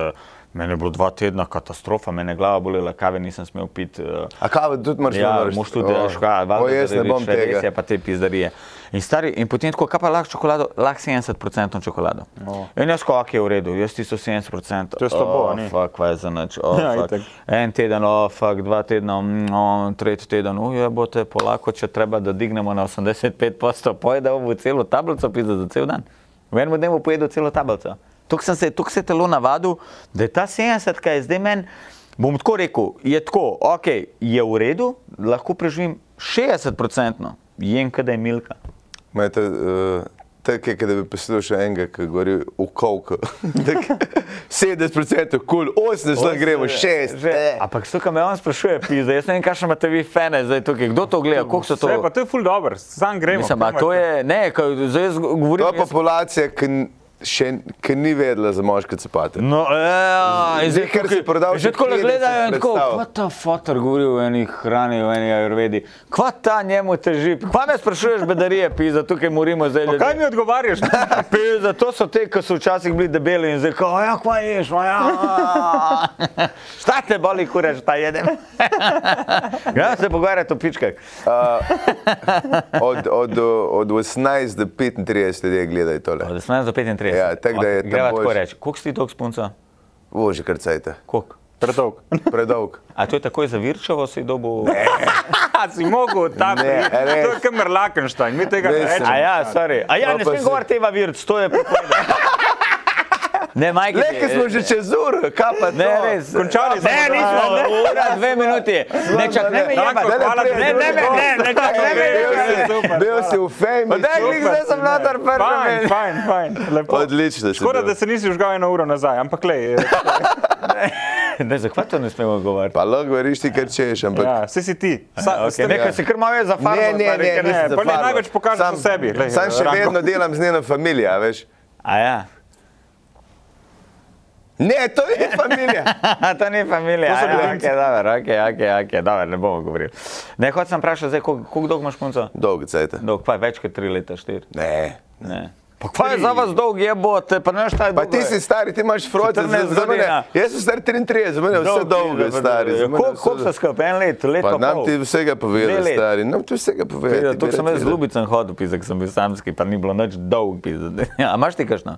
B: meni je bilo dva tedna katastrofa, meni je glava bolela, kave nisem smel piti. Uh,
D: A kava tudi moraš
B: Ja,
D: navršiti?
B: moš tudi
D: O,
B: škoda,
D: O, jaz ne bom tega.
B: Res je pa te pizdarije. In, stari, in potem tako, kaj pa lahko čokolado, lahko 70% čokolado. No. In jaz skok je v redu, jaz tisto 70%.
C: To je slabo,
B: oh,
C: a ni?
B: Fak, kva je za nič. Oh,
C: Ja,
B: fuck.
C: itak.
B: En teden, oh, fak, dva tedna, mm, oh, tretji teden, uje, bo te polako, če treba, da dignemo na 85%, pojdi, da bo celo tablico pizda za cel dan. V enem dnevu pojedo celo tablico. Tukaj sem se, tukaj se je telo navadil, da je ta 70, kaj je zdaj meni. Bom tako rekel, je tako, ok, je v redu, lahko preživim 60%, jem, kada je milka.
D: Ma je to, uh, Tako je, kot da bi poslušal enega, ki govori v kolku. 70% kul, 80% gremo, 6.
B: Že, ampak suka me on sprašuje, pizda, jaz ne vem, kakšne imate vi fene zdaj tukaj, kdo to gleda, koliko so to.
C: Vse, pa to je ful dobro, sam gremo.
B: Mislim, a to je, ne, kaj, zdaj jaz govorim.
D: To je
B: jaz-
D: populacija, ki n- še n- ki ni vedela za moške cepate.
B: No, ja, in
D: Zdaj, ker si prodal že
B: že tako
D: 30
B: gledajo in tako,
D: predstav.
B: kva ta fotor govori v eni hrani, v eni ajurvedi, kva ta njemu teži, kva me sprašuješ bedarije, pizda, tukaj morimo zdaj ljudi.
C: Kaj mi odgovarjaš?
B: Pizda, to so te, ki so včasih bili debeli in zdaj, kao, ja, kva ješ, ma ja. Šta te boli, kureš, ta jedem? Ja, se pogovarjate o pičkah.
D: Od, od, od 18 do 35 ljudi gledajo tole.
B: Od 18 Torej, do 35.
D: Ja, tako da je tam
B: Greva tako
D: boljše.
B: reči, koliko si ti dolg spunca?
D: Bože, kar cajta,
B: Koliko?
C: Predolg.
D: predolg.
B: A to je takoj za Virčevo, si dobil?
C: A si mogel tam, to
D: Ne, res.
C: je kamer Lakenštajn, mi tega ne
D: Res sem.
C: rečemo.
B: A ja, sorry. A ja,
D: No,
B: ne
D: pa
B: smem
D: si-
B: govoriti Eva Virc, to je prepovedano. Ne, Majki.
D: Le, ki smo že čez ur, kapa.
B: Ne, res.
C: Končali smo.
B: No, Ne, nismo,
C: Ne,
B: ura, dve minuti. Ne, čak, ne me
C: Tako,
B: jebat.
C: hvala,
B: Ne, ne, ne, ne, ne, čak, ne me jebat.
D: Bil si v fejmu.
B: daj, glih, zdaj sem noter
C: Fajn,
B: prvi.
C: fajn, fajn, lepo.
D: Odlično si
C: Škoda,
D: bil.
C: da se nisi žgal eno uro nazaj, ampak eh, le,
B: Ne, zakaj to ne smemo govoriti?
D: Pa lahko govoriš ti, kar češ, ampak
C: ja, vse si ti. Sa,
B: Okay, nekaj se krmave za farbo.
D: Ne, ne,
B: stari,
D: ne,
B: ker-
D: ne,
C: ne,
D: za
C: pa ne,
D: farbo.
C: največ pokažeš
D: Sam-
C: o sebi, glej,
D: Sam še
C: Ranko.
D: vedno delam z njeno familijo, veš.
B: A ja.
D: Ne, to ni familija.
B: A to ni familija.
C: To so
B: a ja,
C: ljubimci.
B: okay, dobro, okay, okay, okay, dobro, ne bomo govorili. Ne, hočem sem vprašal, zdaj, koliko koliko dolgo imaš punco?
D: Dolgo cajta.
B: Dolg, pa več kot tri leta, štiri.
D: Ne.
B: Ne. Pa kva je za vas dolg, je eh. bote, pa ne štaj
D: Pa ti si stari, ti imaš frote,
B: 14
D: za- za mene.
B: godina.
D: Jaz sem star 33, za mene je vse dolgo, stari. za mene je
B: ja,
D: vse
B: Koliko koliko
D: dolgo.
B: sta skupaj? En let, leto
D: Pa
B: pa
D: nam
B: pol.
D: ti vsega
B: Dve
D: povedal,
B: leti.
D: stari. Nam ti vsega povedal.
B: To sem jaz z Ljubicem hodil, pizak sem bil samski, pa ni bilo nič dolg. Pizak. A imaš ti kakšno?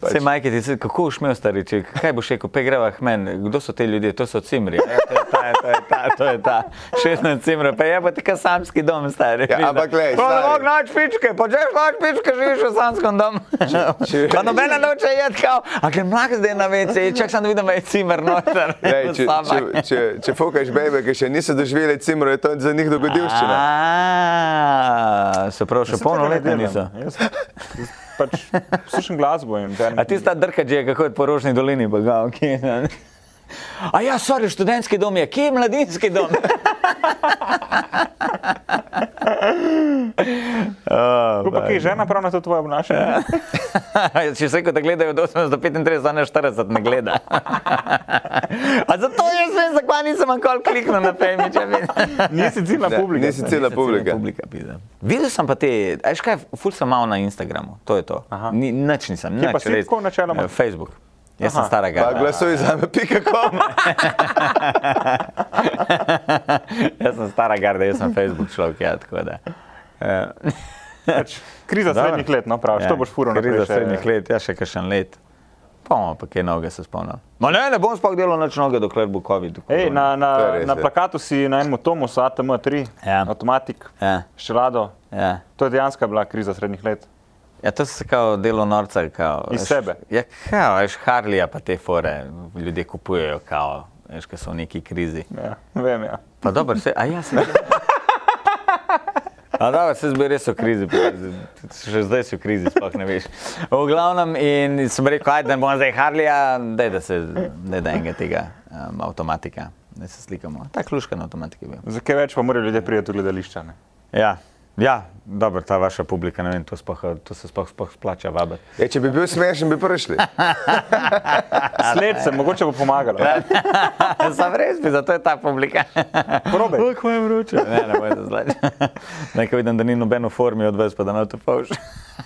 D: pač.
B: Se majke, ti se kako ušmejo stariči, kaj boš rekel, pe greva k meni, kdo so ti ljudje, to so cimri, ja, to je ta, to je ta, to je ta, 16 cimra, pa je ja, pa ti kasamski dom stari.
D: Ja, ampak glej,
B: Prav,
D: stari.
B: bog noč pičke, počeš noč pičke, živiš v samskem domu. Pa nobena noče jed kao, a grem mlak zdaj na vece, čak sem da vidim, da je cimer noter.
D: Lej, če,
B: Sama.
D: če, če, če fukaš bebe, ki še niso doživele cimro, je to za njih dogodivščina.
B: A, Se pravi, še
C: Jaz
B: polnoletne
C: tega ne
B: niso.
C: delam. Jaz pač Slušam glasbo in
B: A tista drkačija, kako je po Rožni dolini, bagal, kje. ne? A ja, sorry, študentski dom je, kje je mladinski dom?
C: Kako pa kaj, žena prav na to tvoje
B: Ja.
C: obnašanje?
B: Če se reče, da gledajo od 18 do 35, a ne 40, ne gleda. A zato jaz vem, zakaj nisem nikoli kliknil na Facebook, če vidim.
C: Nisi ciljna
D: Ne,
C: publika.
D: Nisi cela publika.
B: Publika pide. Videl sem pa te, ajš kaj, ful sem malo na Instagramu, to je to.
C: Aha.
B: Ni, nič nisem,
C: Kje
B: nič.
C: pa si
B: res.
C: tako načeloma?
B: Eh, Facebook. Jaz sem
C: Aha.
B: stara
D: Pa
B: garda.
D: glasuj za me, pika kom.
B: jaz sem stara garda, jaz sem Facebook človek, ja, tako da. Eh,
C: Pač, kriza
B: Dobro.
C: srednjih let, no prav, ja, to boš furo
B: Kriza
C: naprej. še-
B: srednjih let, ja še kakšen let. Pomo pa kaj noge se spomnim. Ma ne, ne bom sploh delal nič noge, dokler bo COVID. tako
C: Ej,
B: da-
C: na, na,
D: To je res,
C: na
D: ja.
C: plakatu si na enem tomu, ATM3,
B: Ja.
C: avtomatik,
B: Ja.
C: šelado.
B: Ja.
C: To je dejansko bila kriza srednjih let.
B: Ja, to se kao delo norca. Kao,
C: Iz
B: veš,
C: sebe.
B: Ja, kao, veš, Harlija pa te fore ljudje kupujejo, kao, veš, ki so v neki krizi.
C: Ja, vem, ja.
B: Pa dobro, se, a ja se. A da, se zdaj res v krizi, pa še zdaj si v krizi, sploh ne veš. V glavnem, in sem rekel, ajde, da bom zdaj Harlija, daj, da se ne da enega tega um, avtomatika, da se slikamo. Ta kluška na avtomatiki je bil.
C: Zakaj več pa morajo ljudje priti v gledališča? Ne?
B: Ja, ja, dobro, ta vaša publika, ne vem, to, sploh, to se sploh, sploh splača vabiti.
D: Ja, če bi bil smešen, bi prišli.
C: Sled se, mogoče bo pomagalo.
B: Sam res bi, zato je ta publika.
C: Probaj.
B: Oj, kako je vroče. Ne, ne bojte zlač. Nekaj vidim, da ni nobeno formi od vas, pa da ne to povš.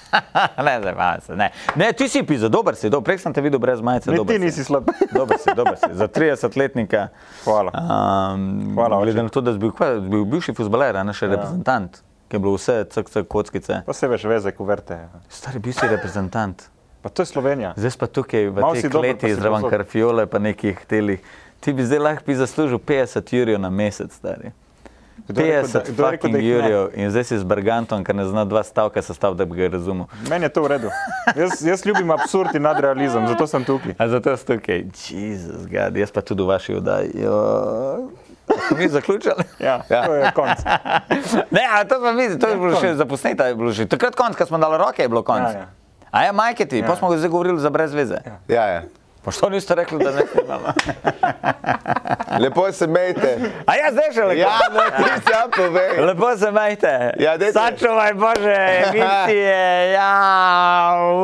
B: ne, zabavam se. Ne. ne, ti si pisa, dober si, dober. prej sem te videl brez majice.
C: Ne,
B: dober
C: ti
B: si.
C: nisi slab.
B: Dober si, dober si. Za 30-letnika.
C: Hvala.
B: Um,
C: Hvala, oče.
B: Glede na to, da si bil, kva, bil bivši fuzbaler, a ne še ja. reprezentant, ki je bilo vse, ckc, kockice.
C: Pa se veš, veze, kuverte.
B: Stari, bil si reprezentant.
C: Pa to je Slovenija.
B: Zdaj pa tukaj v
C: Malo
B: tej
C: si dober, pa
B: kleti
C: si
B: zraven
C: pozor.
B: karfiole pa nekih telih. Ti bi zdaj lahko bi zaslužil 50 jurjev na mesec, stari.
C: Kdo je rekel, da- kdo je
B: 50
C: rekel, da
B: fucking
C: jih ne?
B: jurjev in zdaj si z Bergantom, ker ne zna dva stavka sestaviti, da bi ga razumel.
C: Meni je to v redu. Jaz, jaz ljubim absurd in nadrealizem, zato sem tukaj.
B: A zato ste tukaj, Jezus, gad, jaz pa tudi v vaši vdaji. Smo mi zaključili?
C: Ja, ja. To je konc.
B: ne, a to pa mi, to je bilo še zaposneta, je bilo že. Takrat konc, ko smo dali roke, je bilo konc.
C: Ja, ja.
B: A ja, majke ti,
C: Ja.
B: pa smo ga zdaj govorili za brez veze.
D: Ja, ja.
B: Pa što niste rekli, da ne snimamo?
D: Lepo se mejte.
B: A ja, zdaj še lepo.
D: Ja, no, ti se ja povej.
B: Lepo se majte.
D: Ja, dajte.
B: Sačuvaj bože, misije. Ja,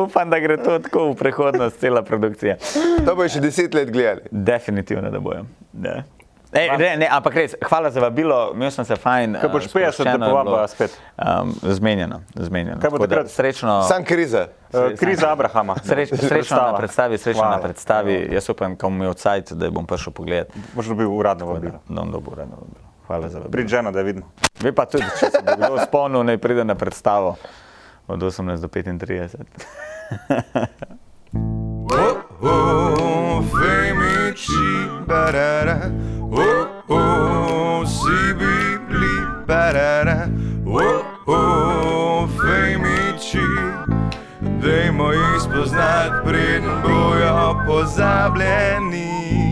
B: upam, da gre to tako v prihodnost, cela produkcija.
D: To bo še deset let gledali.
B: Definitivno, da bojo. Ne. Ej, ne, ne, ampak res, hvala za vabilo, imel sem se fajn.
C: Ko boš
B: eh,
C: 50, te
B: sproščeno je
C: povabila
B: bilo.
C: spet.
B: Um, zmenjeno, zmenjeno.
C: Kaj bo
B: Tako da
C: takrat?
B: Srečno.
D: Sam kriza.
C: Eh, Kriza Abrahama.
B: Sreč, srečno na
C: Predstava.
B: predstavi, srečno Hvala. na
C: Hvala.
B: predstavi. Jaz upam, ko bom imel cajt, da jo bom prišel pogledat.
C: Boš dobil uradno vabilo.
B: Da bom dobil uradno vabilo. Hvala za vabilo.
C: Prid žena, da vidimo.
B: Ve pa tudi, če se bo kdo spomnil, naj pride na predstavo od 18 do 35.
A: Oh, oh, femici, barara. Oh, oh, sibibli, barara. Oh, oh, femici. Dajmo jih spoznati, preden bojo pozabljeni.